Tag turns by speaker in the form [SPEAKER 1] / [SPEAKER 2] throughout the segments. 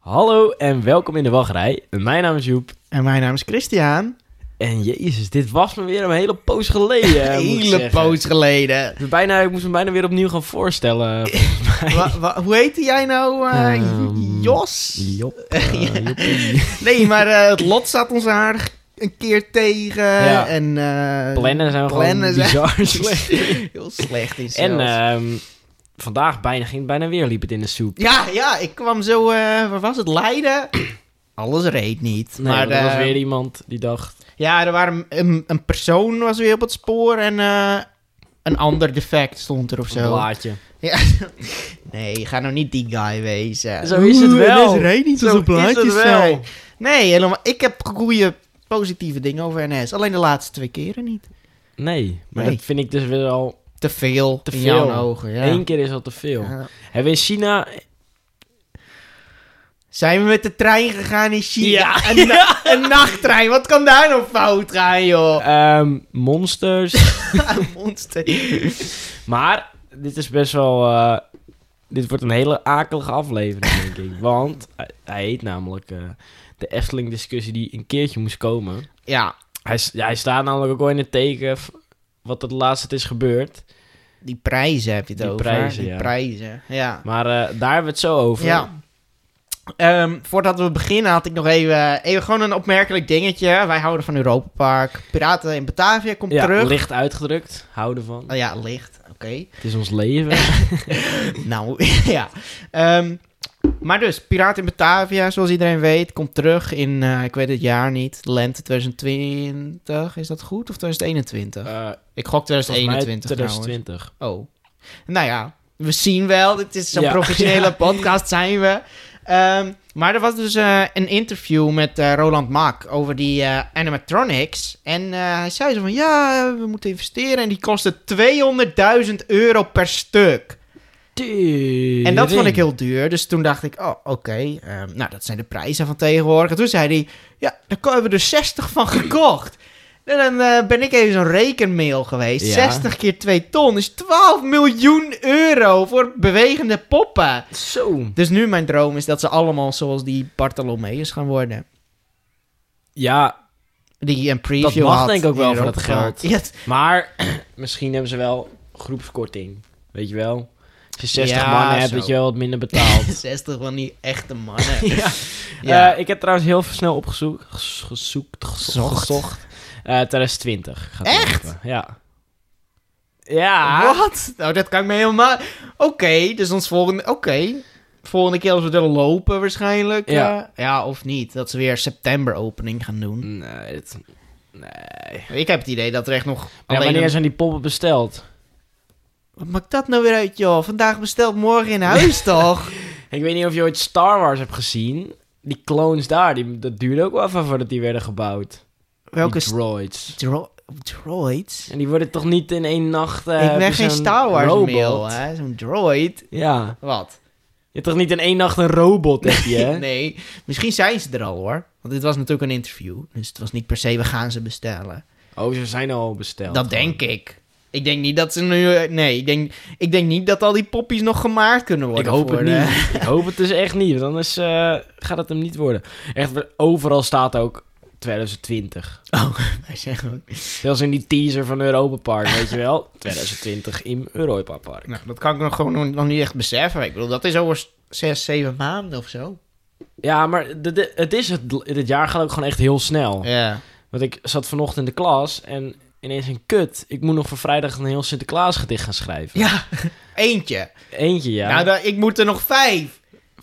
[SPEAKER 1] Hallo en welkom in de wachtrij. Mijn naam is Joep.
[SPEAKER 2] En mijn naam is Christian.
[SPEAKER 1] En jezus, dit was me weer een hele poos geleden.
[SPEAKER 2] Een
[SPEAKER 1] moet ik
[SPEAKER 2] hele
[SPEAKER 1] zeggen.
[SPEAKER 2] poos geleden.
[SPEAKER 1] Ik, ben bijna, ik moest me bijna weer opnieuw gaan voorstellen.
[SPEAKER 2] Wa- wa- hoe heette jij nou? eh,
[SPEAKER 1] Ehm,
[SPEAKER 2] Jos?
[SPEAKER 1] Jop. eh, joppie.
[SPEAKER 2] Nee, maar eh, het lot zat ons aardig een keer tegen.
[SPEAKER 1] Ja.
[SPEAKER 2] En, eh,
[SPEAKER 1] Plannen zijn
[SPEAKER 2] plannen
[SPEAKER 1] gewoon
[SPEAKER 2] zijn-
[SPEAKER 1] bizar slecht.
[SPEAKER 2] Heel slecht in
[SPEAKER 1] En
[SPEAKER 2] zelfs.
[SPEAKER 1] ehm, vandaag bijna, ging bijna weer, liep het in de soep.
[SPEAKER 2] ja, ja, ik kwam zo... eh, waar was het? Leiden? Alles reed niet.
[SPEAKER 1] Nee,
[SPEAKER 2] maar
[SPEAKER 1] er was
[SPEAKER 2] eh,
[SPEAKER 1] weer iemand die dacht...
[SPEAKER 2] Ja, er waren, een, een persoon was weer op het spoor en eh, een ander defect stond er of
[SPEAKER 1] Een
[SPEAKER 2] zo.
[SPEAKER 1] blaadje.
[SPEAKER 2] Ja. Nee, ga nou niet die guy wezen.
[SPEAKER 1] Zo is het
[SPEAKER 2] Oeh,
[SPEAKER 1] wel.
[SPEAKER 2] NS rijdt niet
[SPEAKER 1] Zo
[SPEAKER 2] dus op
[SPEAKER 1] is het
[SPEAKER 2] blaadjes
[SPEAKER 1] wel.
[SPEAKER 2] zijn. Nee, helemaal. Ik heb goede positieve dingen over NS. Alleen de laatste twee keren niet.
[SPEAKER 1] Nee, maar
[SPEAKER 2] Nee.
[SPEAKER 1] dat vind ik dus weer al...
[SPEAKER 2] Te veel.
[SPEAKER 1] Te
[SPEAKER 2] in
[SPEAKER 1] veel.
[SPEAKER 2] jouw ogen, ja.
[SPEAKER 1] Eén keer is al te veel.
[SPEAKER 2] Ja.
[SPEAKER 1] Hebben we in China...
[SPEAKER 2] Zijn we met de trein gegaan in China?
[SPEAKER 1] Ja.
[SPEAKER 2] Een, na- een nachttrein. Wat kan daar nou fout gaan, joh?
[SPEAKER 1] ehm, monsters...
[SPEAKER 2] Monster.
[SPEAKER 1] Maar dit is best wel. eh, dit wordt een hele akelige aflevering, denk ik. Want hij, hij heet namelijk eh, de Efteling-discussie die een keertje moest komen.
[SPEAKER 2] Ja,
[SPEAKER 1] Hij, s- ja, hij staat namelijk ook al in het teken v- wat het laatste is gebeurd.
[SPEAKER 2] die prijzen heb je het
[SPEAKER 1] Die
[SPEAKER 2] over.
[SPEAKER 1] prijzen,
[SPEAKER 2] die
[SPEAKER 1] ja.
[SPEAKER 2] prijzen, ja.
[SPEAKER 1] Maar eh, daar hebben we het zo over.
[SPEAKER 2] Ja. Ehm, voordat we beginnen had ik nog even, even gewoon een opmerkelijk dingetje. Wij houden van Europa Park. Piraten in Batavia komt
[SPEAKER 1] Ja,
[SPEAKER 2] terug.
[SPEAKER 1] licht uitgedrukt. Houden van.
[SPEAKER 2] Oh ja, licht. Oké.
[SPEAKER 1] Het is ons leven.
[SPEAKER 2] nou, ja. Ehm, maar dus, Piraten in Batavia, zoals iedereen weet, komt terug in, eh, ik weet het jaar niet, lente 2020. Is dat goed? Of 2021?
[SPEAKER 1] Eh,
[SPEAKER 2] ik gok
[SPEAKER 1] volgens mij
[SPEAKER 2] 2021 trouwens.
[SPEAKER 1] 2020.
[SPEAKER 2] Oh. Nou ja, we zien wel. Dit is zo'n
[SPEAKER 1] Ja.
[SPEAKER 2] professionele
[SPEAKER 1] Ja.
[SPEAKER 2] podcast, zijn we. Ehm, maar er was dus eh, een interview met eh, Roland Mack over die eh, animatronics. En eh, hij zei zo van, ja, we moeten investeren. En die kostte 200.000 euro per stuk. En dat vond ik heel duur. Dus toen dacht ik, oh, oké. ehm, nou, dat zijn de prijzen van tegenwoordig. En toen zei hij, ja, daar hebben we er 60 van gekocht. En dan eh, ben ik even zo'n rekenmail geweest.
[SPEAKER 1] Ja.
[SPEAKER 2] 60 keer 2 ton is 12 miljoen euro voor bewegende poppen.
[SPEAKER 1] Zo.
[SPEAKER 2] Dus nu mijn droom is dat ze allemaal zoals die Bartolomeus gaan worden.
[SPEAKER 1] Ja,
[SPEAKER 2] Die een preview
[SPEAKER 1] Dat mag
[SPEAKER 2] had
[SPEAKER 1] denk ik ook
[SPEAKER 2] in
[SPEAKER 1] wel voor dat
[SPEAKER 2] Europa Park.
[SPEAKER 1] geld.
[SPEAKER 2] Ja, het-
[SPEAKER 1] maar misschien hebben ze wel groepskorting. Weet je wel? Als je 60
[SPEAKER 2] Ja,
[SPEAKER 1] mannen hebt,
[SPEAKER 2] zo.
[SPEAKER 1] dat je wel wat minder betaald.
[SPEAKER 2] 60 van die echte mannen.
[SPEAKER 1] ja.
[SPEAKER 2] Ja.
[SPEAKER 1] Eh, ik heb trouwens heel snel opgezocht. ges- Gezoekt, gezo-
[SPEAKER 2] Zocht.
[SPEAKER 1] gezocht. Eh, 2020. gaat het
[SPEAKER 2] Echt?
[SPEAKER 1] lopen, Ja. Ja.
[SPEAKER 2] Wat? Nou, dat kan ik me helemaal... Oké, dus ons volgende... Oké. Volgende keer als we er lopen waarschijnlijk.
[SPEAKER 1] Ja.
[SPEAKER 2] Ja. ja, of niet. Dat ze weer september opening gaan doen.
[SPEAKER 1] Nee. dit- nee.
[SPEAKER 2] Ik heb het idee dat er echt nog...
[SPEAKER 1] Ja,
[SPEAKER 2] alleen
[SPEAKER 1] wanneer
[SPEAKER 2] een-
[SPEAKER 1] zijn die poppen besteld?
[SPEAKER 2] Wat maakt dat nou weer uit, joh? Vandaag besteld, morgen in huis, toch?
[SPEAKER 1] Ik weet niet of je ooit Star Wars hebt gezien. Die clones daar, die, dat duurde ook wel even voordat die werden gebouwd.
[SPEAKER 2] Welke...
[SPEAKER 1] Die
[SPEAKER 2] st-
[SPEAKER 1] droids.
[SPEAKER 2] Dro droids?
[SPEAKER 1] En die worden toch niet in één nacht... eh,
[SPEAKER 2] ik
[SPEAKER 1] heb
[SPEAKER 2] ben
[SPEAKER 1] je
[SPEAKER 2] geen
[SPEAKER 1] zo'n
[SPEAKER 2] Star Wars
[SPEAKER 1] robot.
[SPEAKER 2] mail, hè. Zo'n droid.
[SPEAKER 1] Ja.
[SPEAKER 2] Wat?
[SPEAKER 1] Je hebt toch niet in één nacht een robot, heb je, hè?
[SPEAKER 2] Nee. Misschien zijn ze er al, hoor. Want dit was natuurlijk een interview. Dus het was niet per se, we gaan ze bestellen.
[SPEAKER 1] Oh, ze zijn al besteld.
[SPEAKER 2] Dat denk ik. Ik denk niet dat ze nu. eh, Nee, ik denk, ik denk niet dat al die poppies nog gemaakt kunnen worden.
[SPEAKER 1] Ik hoop
[SPEAKER 2] voor
[SPEAKER 1] het
[SPEAKER 2] de-
[SPEAKER 1] niet. Ik hoop het dus echt niet, want anders eh, gaat het hem niet worden. Echt, overal staat ook 2020.
[SPEAKER 2] Wij zeggen Oh, ook-
[SPEAKER 1] Zelfs in die teaser van Europa Park, weet je wel? 2020 in Europa Park.
[SPEAKER 2] nou, dat kan ik nog gewoon nog, nog niet echt beseffen. Ik bedoel, dat is over s- zes, zeven maanden of zo.
[SPEAKER 1] Ja, maar de, de- het is het, dit jaar gaat ook gewoon echt heel snel.
[SPEAKER 2] Ja.
[SPEAKER 1] Want ik zat vanochtend in de klas en ineens een kut. Ik moet nog voor vrijdag een heel Sinterklaas gedicht gaan schrijven.
[SPEAKER 2] Ja, eentje.
[SPEAKER 1] Eentje, ja.
[SPEAKER 2] Nou, dan- ik moet er nog vijf.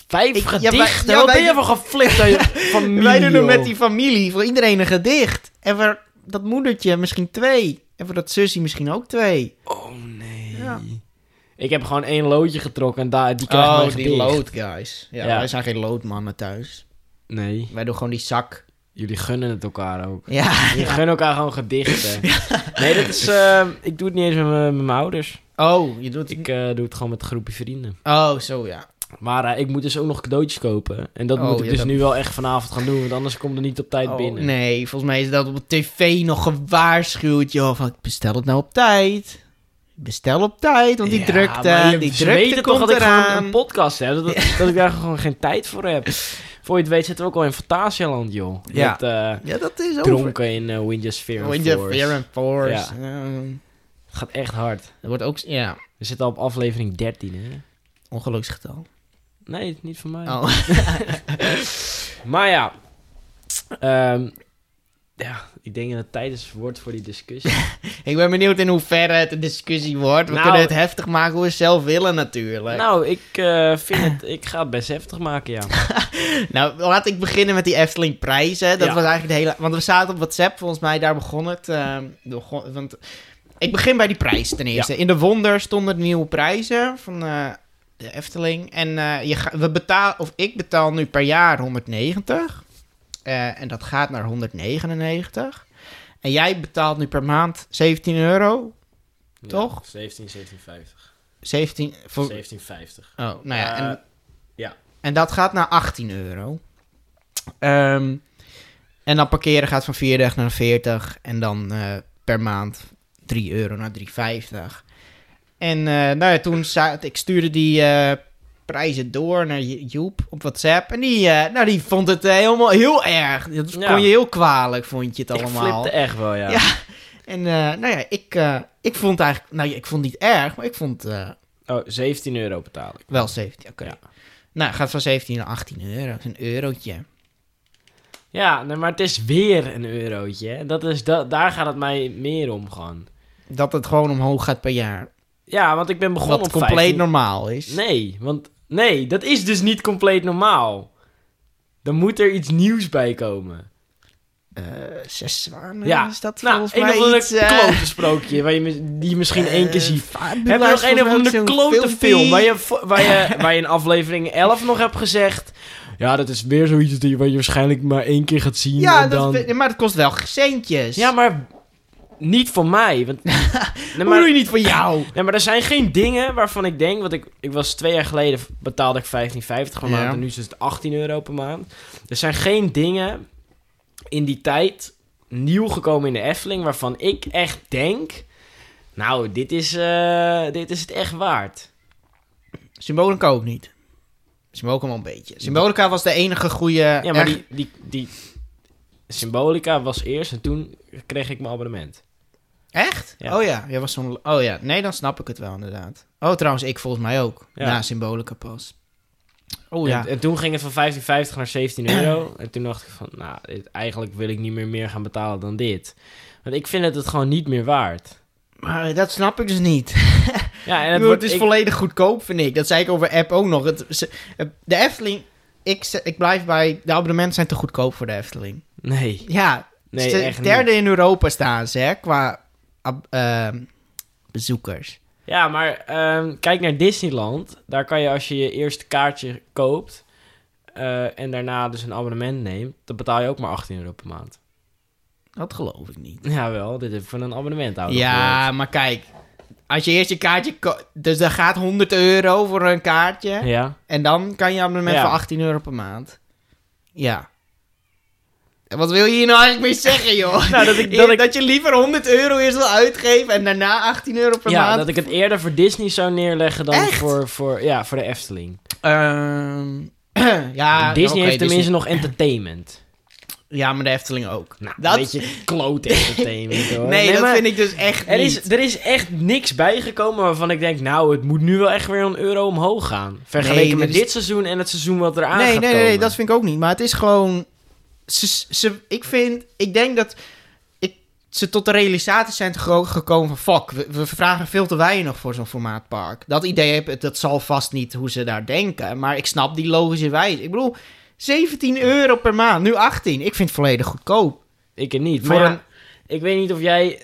[SPEAKER 1] Vijf
[SPEAKER 2] ik- ja,
[SPEAKER 1] gedichten?
[SPEAKER 2] wij- ja,
[SPEAKER 1] Wat
[SPEAKER 2] wij
[SPEAKER 1] ben je
[SPEAKER 2] doen-
[SPEAKER 1] van geflipt aan je familie,
[SPEAKER 2] Wij doen er
[SPEAKER 1] joh?
[SPEAKER 2] met die familie voor iedereen een gedicht. En voor dat moedertje misschien twee. En voor dat zusje misschien ook twee.
[SPEAKER 1] Oh, nee.
[SPEAKER 2] Ja.
[SPEAKER 1] Ik heb gewoon één loodje getrokken en daar, Oh, die krijgt mijn gedicht.
[SPEAKER 2] Oh, guys. Ja,
[SPEAKER 1] Ja.
[SPEAKER 2] wij zijn geen loodmannen thuis.
[SPEAKER 1] Nee.
[SPEAKER 2] Wij doen gewoon die zak.
[SPEAKER 1] Jullie gunnen het elkaar ook.
[SPEAKER 2] Ja.
[SPEAKER 1] Jullie gunnen elkaar gewoon gedichten. Nee, dat is... eh, ik doe het niet eens met mijn met mijn ouders.
[SPEAKER 2] Oh, je doet...
[SPEAKER 1] Ik eh, doe het gewoon met een groepje vrienden.
[SPEAKER 2] Oh, zo ja.
[SPEAKER 1] Maar eh, ik moet dus ook nog cadeautjes kopen. En dat
[SPEAKER 2] Oh,
[SPEAKER 1] moet ik
[SPEAKER 2] ja,
[SPEAKER 1] dus
[SPEAKER 2] dat-
[SPEAKER 1] nu wel echt vanavond gaan doen. Want anders komt er niet op tijd
[SPEAKER 2] Oh,
[SPEAKER 1] binnen.
[SPEAKER 2] Nee, volgens mij is dat op de tv nog gewaarschuwd, joh. Van, bestel het nou op tijd. bestel op tijd, want die
[SPEAKER 1] Ja,
[SPEAKER 2] drukte,
[SPEAKER 1] maar je-
[SPEAKER 2] die
[SPEAKER 1] ze
[SPEAKER 2] drukte
[SPEAKER 1] weten
[SPEAKER 2] komt
[SPEAKER 1] toch dat ik gewoon
[SPEAKER 2] eraan.
[SPEAKER 1] een podcast heb. Dat, dat ik daar gewoon geen tijd voor heb. Voor je het weet zitten we ook al in Fantasialand, joh.
[SPEAKER 2] Ja.
[SPEAKER 1] Met, eh,
[SPEAKER 2] ja, dat is over. Oh,
[SPEAKER 1] dronken in eh Windows Fear
[SPEAKER 2] Wind
[SPEAKER 1] and
[SPEAKER 2] of
[SPEAKER 1] Force.
[SPEAKER 2] Fear and Force.
[SPEAKER 1] Ja.
[SPEAKER 2] Ehm,
[SPEAKER 1] Het gaat echt hard.
[SPEAKER 2] dat wordt ook, ja,
[SPEAKER 1] We zitten al op aflevering 13, hè?
[SPEAKER 2] ongeluksgetal.
[SPEAKER 1] Nee, niet van mij.
[SPEAKER 2] Oh.
[SPEAKER 1] Maar ja. ehm, ja, ik denk dat het tijd is wordt voor die discussie.
[SPEAKER 2] Ik ben benieuwd in hoeverre het een discussie wordt. We
[SPEAKER 1] Nou-
[SPEAKER 2] kunnen het heftig maken hoe we zelf willen natuurlijk. Nou,
[SPEAKER 1] nou, ik eh, vind het... Ik ga het best heftig maken, ja.
[SPEAKER 2] Nou, laat ik beginnen met die Efteling prijzen. Dat
[SPEAKER 1] Ja.
[SPEAKER 2] was eigenlijk de hele... Want we zaten op WhatsApp, volgens mij daar begon het. ehm, begon- want ik begin bij die prijs ten eerste. In de Wonder stonden de nieuwe prijzen van eh, de Efteling. En eh, je ga- we betaal, of ik betaal nu per jaar 190. Eh, en dat gaat naar 199. En jij betaalt nu per maand 17 euro. Toch?
[SPEAKER 1] Ja, 17, 1750.
[SPEAKER 2] 17... voor-
[SPEAKER 1] 1750.
[SPEAKER 2] Oh, nou ja. en,
[SPEAKER 1] Eh, ja.
[SPEAKER 2] En dat gaat naar 18 euro. Ehm, en dan parkeren gaat van 40 naar 40. En dan eh, per maand 3 euro naar 3,50. En eh, nou ja, toen za- ik stuurde die eh, prijzen door naar Jo- Joep op WhatsApp. En die, eh, nou, die vond het eh, helemaal heel erg. Dat
[SPEAKER 1] Ja.
[SPEAKER 2] kon je heel kwalijk, vond je het
[SPEAKER 1] Ik
[SPEAKER 2] allemaal.
[SPEAKER 1] flipte echt wel, ja.
[SPEAKER 2] Ja. En eh, nou ja, ik, eh, ik vond eigenlijk... Nou, ja, ik vond het niet erg, maar ik vond... eh,
[SPEAKER 1] Oh, 17 euro betaal ik.
[SPEAKER 2] Wel 17, oké.
[SPEAKER 1] Ja.
[SPEAKER 2] Nou, gaat van 17 naar 18 euro. Dat is een eurotje.
[SPEAKER 1] Ja, nee, maar het is weer een eurotje. hè. Dat is da daar gaat het mij meer om gewoon.
[SPEAKER 2] Dat het gewoon omhoog gaat per jaar.
[SPEAKER 1] Ja, want ik ben begonnen
[SPEAKER 2] Wat
[SPEAKER 1] op
[SPEAKER 2] compleet
[SPEAKER 1] 15.
[SPEAKER 2] normaal is.
[SPEAKER 1] Nee, want nee, dat is dus niet compleet normaal. Dan moet er iets nieuws bij komen.
[SPEAKER 2] Eh, zes zwanen
[SPEAKER 1] Ja.
[SPEAKER 2] is dat
[SPEAKER 1] Nou,
[SPEAKER 2] volgens
[SPEAKER 1] een
[SPEAKER 2] mij
[SPEAKER 1] of ander
[SPEAKER 2] iets... eh,
[SPEAKER 1] klote sprookje waar je, mis- die je misschien één keer
[SPEAKER 2] eh,
[SPEAKER 1] ziet.
[SPEAKER 2] Fabula's
[SPEAKER 1] Heb je nog een of
[SPEAKER 2] volgens mij ook
[SPEAKER 1] andere
[SPEAKER 2] zo'n
[SPEAKER 1] klote
[SPEAKER 2] filmpie?
[SPEAKER 1] film waar je, vo- waar, je, waar je in aflevering 11 nog hebt gezegd... Ja, dat is weer zoiets die, waar je waarschijnlijk maar één keer gaat zien
[SPEAKER 2] Ja,
[SPEAKER 1] en dan...
[SPEAKER 2] dat, maar dat kost wel centjes.
[SPEAKER 1] Ja, maar niet voor mij. Want, nee,
[SPEAKER 2] Hoe doe
[SPEAKER 1] maar,
[SPEAKER 2] je niet voor jou?
[SPEAKER 1] nee, maar er zijn geen dingen waarvan ik denk... Want ik, ik was twee jaar geleden betaalde ik 15,50 per
[SPEAKER 2] Ja.
[SPEAKER 1] maand. En nu is het 18 euro per maand. Er zijn geen dingen in die tijd nieuw gekomen in de Efteling... waarvan ik echt denk... Nou, dit is, eh, dit is het echt waard.
[SPEAKER 2] Symbolica ook niet. Symbolica wel een beetje. Symbolica was de enige goede...
[SPEAKER 1] Ja, maar
[SPEAKER 2] Eh, echt-
[SPEAKER 1] die, die, die symbolica was eerst en toen kreeg ik mijn abonnement.
[SPEAKER 2] Echt?
[SPEAKER 1] Ja.
[SPEAKER 2] Oh ja, jij was zo'n... Oh ja, nee, dan snap ik het wel inderdaad. Oh, trouwens, ik volgens mij ook.
[SPEAKER 1] Ja.
[SPEAKER 2] Na Symbolica pas. Oh ja.
[SPEAKER 1] En, en toen ging het van 15,50 naar 17 euro. en toen dacht ik van, nou, dit- eigenlijk wil ik niet meer meer gaan betalen dan dit. Want ik vind het het gewoon niet meer waard.
[SPEAKER 2] Maar dat snap ik dus niet.
[SPEAKER 1] Ja, en
[SPEAKER 2] Het,
[SPEAKER 1] het wordt...
[SPEAKER 2] het is
[SPEAKER 1] ik-
[SPEAKER 2] volledig goedkoop, vind ik. Dat zei ik over app ook nog. Het, ze- de Efteling... Ik, ze- ik blijf bij... De abonnementen zijn te goedkoop voor de Efteling.
[SPEAKER 1] Nee,
[SPEAKER 2] Ja,
[SPEAKER 1] nee,
[SPEAKER 2] ze-
[SPEAKER 1] echt niet.
[SPEAKER 2] derde in Europa staan ze, hè, qua ab- ehm, bezoekers.
[SPEAKER 1] Ja, maar ehm, kijk naar Disneyland. Daar kan je als je je eerste kaartje koopt... eh, en daarna dus een abonnement neemt... dan betaal je ook maar 18 euro per maand.
[SPEAKER 2] Dat geloof ik niet.
[SPEAKER 1] Jawel, dit heb ik van een abonnement houden.
[SPEAKER 2] ja, maar kijk. Als je eerst je kaartje... ko- Dus daar gaat 100 euro voor een kaartje.
[SPEAKER 1] Ja?
[SPEAKER 2] En dan kan je abonnement
[SPEAKER 1] Ja.
[SPEAKER 2] voor 18 euro per maand. Ja. En wat wil je hier nou eigenlijk mee zeggen, joh?
[SPEAKER 1] Nou, dat ik- dat ik-
[SPEAKER 2] je liever 100 euro eerst wil uitgeven en daarna 18 euro per
[SPEAKER 1] ja,
[SPEAKER 2] maand.
[SPEAKER 1] dat ik het eerder voor Disney zou neerleggen dan
[SPEAKER 2] Echt?
[SPEAKER 1] voor, voor, ja, voor de Efteling.
[SPEAKER 2] Ehm, ja,
[SPEAKER 1] Disney
[SPEAKER 2] Ah, oké,
[SPEAKER 1] heeft tenminste nog entertainment.
[SPEAKER 2] Ja, maar de Efteling ook.
[SPEAKER 1] Nou,
[SPEAKER 2] Dat-
[SPEAKER 1] een beetje klote entertainment hoor.
[SPEAKER 2] Nee, dat
[SPEAKER 1] maar
[SPEAKER 2] vind ik dus echt
[SPEAKER 1] er
[SPEAKER 2] niet.
[SPEAKER 1] is, er is echt niks bijgekomen waarvan ik denk, nou, het moet nu wel echt weer een euro omhoog gaan. Vergeleken
[SPEAKER 2] Nee,
[SPEAKER 1] met
[SPEAKER 2] dit is-
[SPEAKER 1] dit seizoen en het seizoen wat eraan
[SPEAKER 2] nee,
[SPEAKER 1] gaat
[SPEAKER 2] nee, nee,
[SPEAKER 1] komen.
[SPEAKER 2] dat vind ik ook niet. Maar het is gewoon... Ze, ze, ik vind... Ik denk dat ik, ze tot de realisatie zijn gero- gekomen van... Fuck, we, we vragen veel te weinig nog voor zo'n formaatpark. Dat idee heb ik... Dat zal vast niet hoe ze daar denken. Maar ik snap die logische wijze. Ik bedoel, 17 euro per maand. Nu 18. Ik vind het volledig goedkoop.
[SPEAKER 1] Ik het niet.
[SPEAKER 2] Voor
[SPEAKER 1] Maar ja,
[SPEAKER 2] een-
[SPEAKER 1] ik weet niet of jij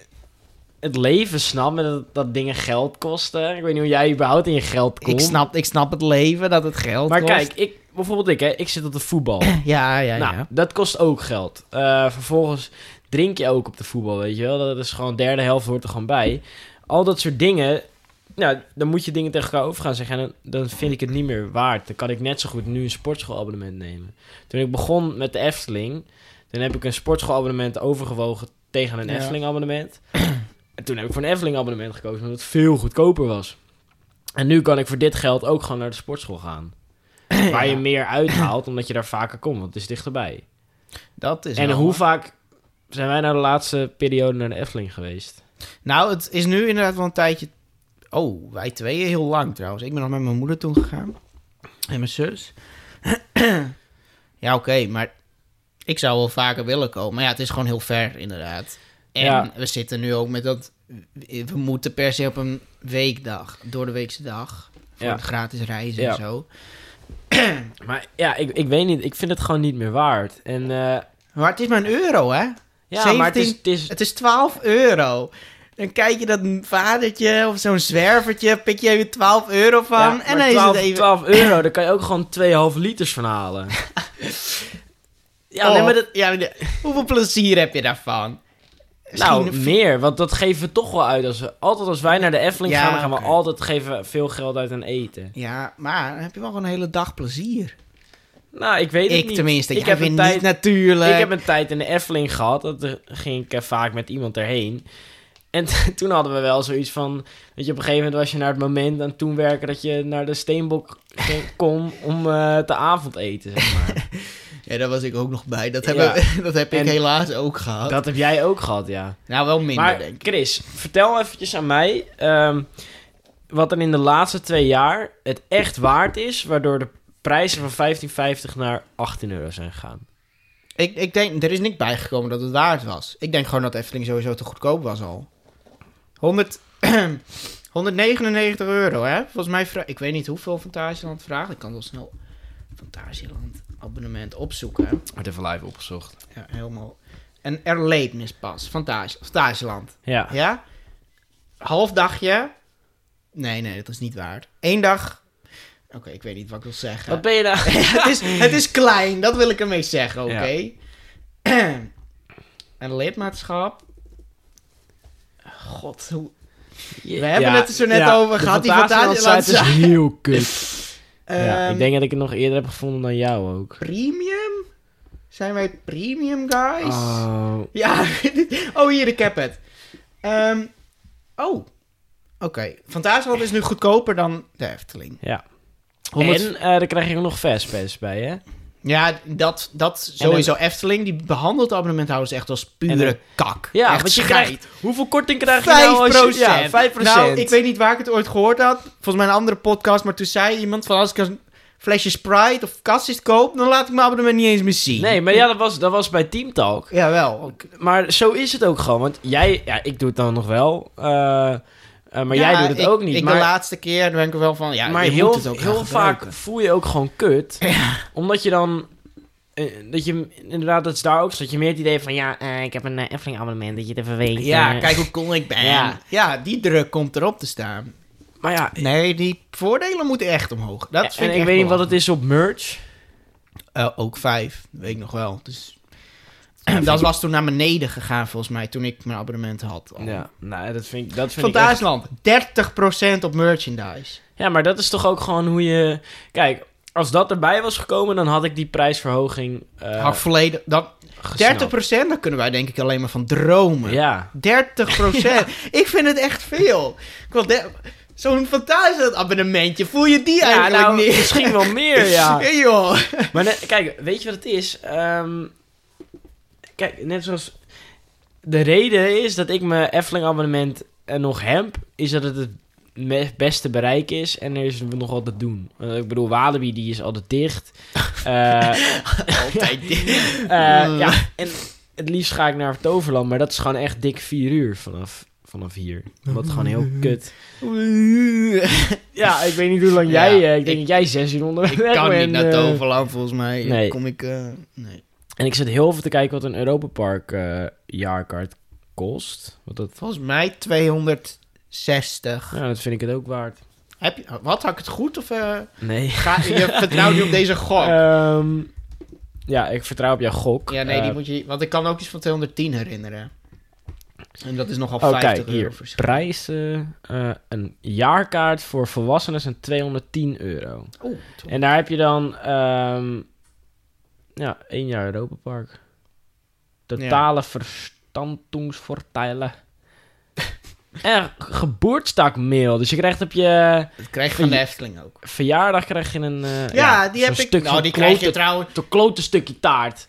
[SPEAKER 1] het leven snapt en dat, dat dingen geld kosten. Ik weet niet hoe jij überhaupt in je geld komt.
[SPEAKER 2] Ik snap, ik snap het leven, dat het geld
[SPEAKER 1] Maar
[SPEAKER 2] kost.
[SPEAKER 1] kijk, ik, bijvoorbeeld ik, hè, ik zit op de voetbal.
[SPEAKER 2] Ja, ja,
[SPEAKER 1] nou,
[SPEAKER 2] ja.
[SPEAKER 1] dat kost ook geld. Eh, vervolgens drink je ook op de voetbal, weet je wel. Dat is gewoon derde helft hoort er gewoon bij. Al dat soort dingen. Nou, dan moet je dingen tegen elkaar over gaan zeggen. En dan, dan vind ik het niet meer waard. Dan kan ik net zo goed nu een sportschoolabonnement nemen. Toen ik begon met de Efteling, dan heb ik een sportschoolabonnement overgewogen tegen een
[SPEAKER 2] Ja.
[SPEAKER 1] Efteling abonnement. En toen heb ik voor een Efteling abonnement gekozen, omdat het veel goedkoper was. En nu kan ik voor dit geld ook gewoon naar de sportschool gaan. Waar je meer uithaalt, omdat je daar vaker komt, want het is dichterbij.
[SPEAKER 2] Dat is
[SPEAKER 1] En
[SPEAKER 2] wel
[SPEAKER 1] hoe
[SPEAKER 2] waar.
[SPEAKER 1] vaak zijn wij nou de laatste periode naar de Efteling geweest?
[SPEAKER 2] Nou, het is nu inderdaad wel een tijdje... Oh, wij tweeën heel lang trouwens. Ik ben nog met mijn moeder toen gegaan. En mijn zus. ja, oké, maar ik zou wel vaker willen komen. Maar ja, het is gewoon heel ver inderdaad. En
[SPEAKER 1] Ja.
[SPEAKER 2] we zitten nu ook met dat... We moeten per se op een weekdag, door de weekse dag. Voor
[SPEAKER 1] Ja.
[SPEAKER 2] het gratis reizen
[SPEAKER 1] Ja.
[SPEAKER 2] en zo.
[SPEAKER 1] Maar ja, ik, ik weet niet. Ik vind het gewoon niet meer waard. En eh,
[SPEAKER 2] Maar het is maar een euro, hè?
[SPEAKER 1] ja, maar het is, het is...
[SPEAKER 2] Het is 12 euro. Dan kijk je dat vadertje of zo'n zwervertje, pik je even 12 euro van.
[SPEAKER 1] ja,
[SPEAKER 2] en
[SPEAKER 1] maar
[SPEAKER 2] dan
[SPEAKER 1] 12,
[SPEAKER 2] is het even.
[SPEAKER 1] 12 euro, daar kan je ook gewoon 2,5 liters van halen. ja,
[SPEAKER 2] Oh,
[SPEAKER 1] nee, maar dat...
[SPEAKER 2] ja, de- hoeveel plezier heb je daarvan?
[SPEAKER 1] Nou,
[SPEAKER 2] Misschien-
[SPEAKER 1] meer, want dat geven we toch wel uit. Als we, altijd als wij naar de Efteling
[SPEAKER 2] Ja,
[SPEAKER 1] gaan, dan gaan we
[SPEAKER 2] oké.
[SPEAKER 1] altijd geven we veel geld uit aan eten.
[SPEAKER 2] Ja, maar dan heb je wel gewoon een hele dag plezier.
[SPEAKER 1] Nou, ik weet het
[SPEAKER 2] Ik
[SPEAKER 1] niet.
[SPEAKER 2] tenminste,
[SPEAKER 1] ik
[SPEAKER 2] jij
[SPEAKER 1] heb
[SPEAKER 2] vindt
[SPEAKER 1] een tijd,
[SPEAKER 2] niet natuurlijk.
[SPEAKER 1] ik heb een tijd in de Efteling gehad. Dat eh, ging ik eh, vaak met iemand erheen. En t- toen hadden we wel zoiets van... Weet je, op een gegeven moment was je naar het moment aan het toen werken... dat je naar de Steenbok ging- kon om eh, te avondeten, zeg maar.
[SPEAKER 2] Ja, daar was ik ook nog bij. Dat heb,
[SPEAKER 1] Ja.
[SPEAKER 2] ik- dat heb ik
[SPEAKER 1] En-
[SPEAKER 2] helaas ook gehad.
[SPEAKER 1] Dat heb jij ook gehad, ja.
[SPEAKER 2] Nou, wel minder,
[SPEAKER 1] Maar
[SPEAKER 2] denk ik.
[SPEAKER 1] Chris, vertel eventjes aan mij ehm, wat er in de laatste twee jaar het echt waard is, waardoor de prijzen van 15,50 naar 18 euro zijn gegaan.
[SPEAKER 2] ik. Ik denk, er is niks bijgekomen dat het waard was. Ik denk gewoon dat Efteling sowieso te goedkoop was al. 100, 199 euro, hè? Volgens mij, vra- ik weet niet hoeveel Fantasieland vraagt. Ik kan wel snel Fantasieland abonnement opzoeken.
[SPEAKER 1] Wordt even live opgezocht.
[SPEAKER 2] Ja, helemaal. Een erlebnispas van Thais- Thailand.
[SPEAKER 1] Ja.
[SPEAKER 2] Ja? Half dagje. Nee, nee, dat is niet waard. Eén dag. Oké, ik weet niet wat ik wil zeggen.
[SPEAKER 1] Wat ben je nou?
[SPEAKER 2] het, is, het is klein, dat wil ik ermee zeggen, oké? een lidmaatschap. God, hoe... We hebben het er zo net over gehad, die Fantasieland
[SPEAKER 1] site is heel kut. ja,
[SPEAKER 2] Ehm,
[SPEAKER 1] ik denk dat ik het nog eerder heb gevonden dan jou ook.
[SPEAKER 2] Premium? Zijn wij premium, guys?
[SPEAKER 1] Oh.
[SPEAKER 2] Ja, dit- oh hier, ik heb het. Ehm, oh, oké. Fantasieland is nu goedkoper dan de Efteling.
[SPEAKER 1] Ja.
[SPEAKER 2] Honderd-
[SPEAKER 1] En eh daar krijg je ook nog Fastpass bij, hè?
[SPEAKER 2] Ja, dat, dat sowieso. Efteling, die behandelt abonnementhouders echt als pure
[SPEAKER 1] En een-
[SPEAKER 2] kak.
[SPEAKER 1] Ja,
[SPEAKER 2] echt
[SPEAKER 1] want je
[SPEAKER 2] schijt.
[SPEAKER 1] krijgt... Hoeveel korting krijg je nou als je...
[SPEAKER 2] 5%.
[SPEAKER 1] Ja, 5%.
[SPEAKER 2] Nou, ik weet niet waar ik het ooit gehoord had. Volgens mij een andere podcast. Maar toen zei iemand van als ik een flesje Sprite of Cassis koop... dan laat ik mijn abonnement niet eens meer zien.
[SPEAKER 1] Nee, maar ja, dat was, dat was bij Team Talk.
[SPEAKER 2] Jawel. wel.
[SPEAKER 1] Maar zo is het ook gewoon. Want jij, ja, ik doe het dan nog wel. eh, eh, maar jij doet het
[SPEAKER 2] ik-
[SPEAKER 1] ook niet.
[SPEAKER 2] Ik de
[SPEAKER 1] maar
[SPEAKER 2] laatste keer dan ben ik er wel van... Ja,
[SPEAKER 1] maar
[SPEAKER 2] je
[SPEAKER 1] heel,
[SPEAKER 2] moet het ook gaan
[SPEAKER 1] heel vaak
[SPEAKER 2] gebruiken.
[SPEAKER 1] voel je ook gewoon kut. Omdat je dan. eh, dat je inderdaad, dat is daar ook. zo, Dat je meer het idee van ja, eh, ik heb een eh, Efteling-abonnement. Dat je het even weet.
[SPEAKER 2] Ja,
[SPEAKER 1] eh.
[SPEAKER 2] kijk hoe cool ik ben.
[SPEAKER 1] Ja.
[SPEAKER 2] Ja. die druk komt erop te staan.
[SPEAKER 1] Maar ja,
[SPEAKER 2] Nee, die voordelen moeten echt omhoog. Dat vind
[SPEAKER 1] en ik
[SPEAKER 2] echt
[SPEAKER 1] weet niet wat het
[SPEAKER 2] belangrijk.
[SPEAKER 1] is op merch.
[SPEAKER 2] Eh, ook vijf, weet ik nog wel. Dus... dat was toen naar beneden gegaan volgens mij, toen ik mijn abonnement had. al.
[SPEAKER 1] Ja, nou, dat vind ik. Dat vind ik echt-
[SPEAKER 2] Fantasieland, 30% op merchandise.
[SPEAKER 1] Ja, maar dat is toch ook gewoon hoe je. Kijk, als dat erbij was gekomen, dan had ik die prijsverhoging. eh,
[SPEAKER 2] Had volledig, dat, 30%,
[SPEAKER 1] gesnapt.
[SPEAKER 2] daar kunnen wij denk ik alleen maar van dromen.
[SPEAKER 1] Ja.
[SPEAKER 2] 30%. Ik vind het echt veel. Ik wil de- Zo'n fantastisch abonnementje. Voel je die
[SPEAKER 1] Ja,
[SPEAKER 2] eigenlijk
[SPEAKER 1] nou,
[SPEAKER 2] niet?
[SPEAKER 1] misschien wel meer, ja.
[SPEAKER 2] Hey, joh.
[SPEAKER 1] Maar net- kijk, weet je wat het is? Ehm, kijk, net zoals... De reden is dat ik mijn Efteling-abonnement eh, nog heb... is dat het het me- beste bereik is en er is nog wat te doen. Eh, ik bedoel, Walibi die is altijd dicht. Eh, eh,
[SPEAKER 2] Altijd dit.
[SPEAKER 1] ja, en het liefst ga ik naar Toverland... maar dat is gewoon echt dik vier uur vanaf, vanaf hier. Wat gewoon heel kut. Ja, ik weet niet hoe lang jij...
[SPEAKER 2] Ja,
[SPEAKER 1] eh, ik denk
[SPEAKER 2] ik-
[SPEAKER 1] dat jij zes uur onderweg
[SPEAKER 2] Ik kan niet
[SPEAKER 1] bent,
[SPEAKER 2] naar
[SPEAKER 1] eh.
[SPEAKER 2] Toverland, volgens mij.
[SPEAKER 1] nee.
[SPEAKER 2] Kom ik... eh, nee.
[SPEAKER 1] En ik zit heel veel te kijken wat een Europa Park eh, jaarkaart kost. Want dat,
[SPEAKER 2] Volgens mij 260.
[SPEAKER 1] nou, dat vind ik het ook waard.
[SPEAKER 2] Heb je, wat, had ik het goed? Of eh,
[SPEAKER 1] Nee.
[SPEAKER 2] ga, je vertrouwt nu op deze gok?
[SPEAKER 1] Ehm, ja, ik vertrouw op jouw gok.
[SPEAKER 2] ja, nee, die
[SPEAKER 1] Eh,
[SPEAKER 2] moet je... Want ik kan ook iets van 210 herinneren. En dat is nogal
[SPEAKER 1] Oh,
[SPEAKER 2] 50
[SPEAKER 1] kijk,
[SPEAKER 2] euro
[SPEAKER 1] hier.
[SPEAKER 2] verschil.
[SPEAKER 1] Prijzen. eh, een jaarkaart voor volwassenen zijn 210 euro.
[SPEAKER 2] Oeh,
[SPEAKER 1] En daar heb je dan... ehm, ja, één jaar Europa Park. Totale verstandingsvoordelen. En geboortstakmail. Dus je krijgt op je
[SPEAKER 2] Dat krijg je van de Efteling ook.
[SPEAKER 1] verjaardag krijg je een... eh,
[SPEAKER 2] Ja, die
[SPEAKER 1] zo'n
[SPEAKER 2] heb ik.
[SPEAKER 1] Stuk
[SPEAKER 2] nou,
[SPEAKER 1] van
[SPEAKER 2] die krijg je
[SPEAKER 1] klote-
[SPEAKER 2] trouwens.
[SPEAKER 1] Zo'n klote stukje taart.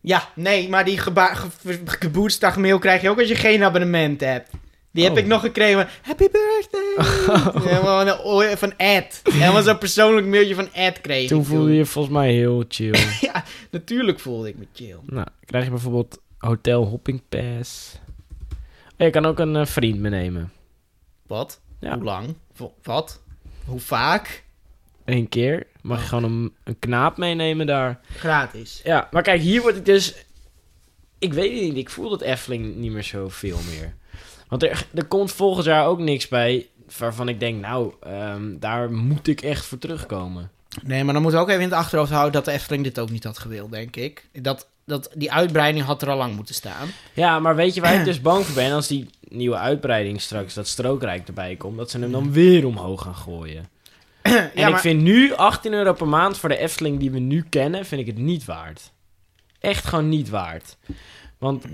[SPEAKER 2] Ja, nee, maar die geba- ge- ge- geboortedagmail krijg je ook als je geen abonnement hebt. Die heb
[SPEAKER 1] Oh.
[SPEAKER 2] ik nog gekregen. Happy birthday! Helemaal een oor- van Ed. Helemaal zo'n persoonlijk mailtje van Ed kreeg. ik
[SPEAKER 1] Toen voelde je je volgens mij heel chill.
[SPEAKER 2] Ja, natuurlijk voelde ik me chill.
[SPEAKER 1] nou, krijg je bijvoorbeeld Hotel Hopping Pass. En je kan ook een eh, vriend meenemen.
[SPEAKER 2] Wat?
[SPEAKER 1] Ja.
[SPEAKER 2] Hoe lang? Vo- wat? Hoe vaak?
[SPEAKER 1] Eén keer. Mag je gewoon een, een knaap meenemen daar.
[SPEAKER 2] Gratis.
[SPEAKER 1] Ja, maar kijk, hier word ik dus... Ik weet het niet, ik voel dat Efteling niet meer zoveel meer. Want er, er komt volgend jaar ook niks bij waarvan ik denk, nou, ehm, daar moet ik echt voor terugkomen.
[SPEAKER 2] Nee, maar dan moet je ook even in het achterhoofd houden dat de Efteling dit ook niet had gewild, denk ik. Dat, dat, die uitbreiding had er al lang moeten staan.
[SPEAKER 1] Ja, maar weet je waar ik dus bang voor ben? Als die nieuwe uitbreiding straks, dat strookrijk erbij komt, dat ze hem dan weer omhoog gaan gooien.
[SPEAKER 2] ja,
[SPEAKER 1] En ik vind nu 18 euro per maand voor de Efteling die we nu kennen, vind ik het niet waard. Echt gewoon niet waard. Want,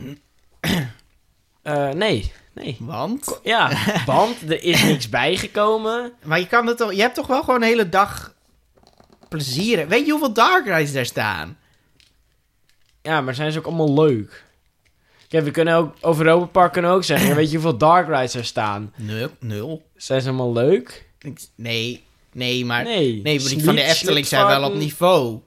[SPEAKER 1] eh, nee, nee.
[SPEAKER 2] Want?
[SPEAKER 1] Ja, want er is niks bijgekomen.
[SPEAKER 2] Maar je, kan het toch, je hebt toch wel gewoon een hele dag plezier. Weet je hoeveel Dark Rides daar staan?
[SPEAKER 1] Ja, maar zijn ze ook allemaal leuk? Kijk, we kunnen ook over Europa Park kunnen we ook zeggen, ja, weet je hoeveel dark rides er staan?
[SPEAKER 2] Nul. Nul.
[SPEAKER 1] Zijn ze allemaal leuk?
[SPEAKER 2] Ik- Nee, nee, maar... Nee,
[SPEAKER 1] Nee.
[SPEAKER 2] maar die van de
[SPEAKER 1] Sleep-
[SPEAKER 2] Efteling zijn wel op
[SPEAKER 1] Sleepvarken-
[SPEAKER 2] niveau.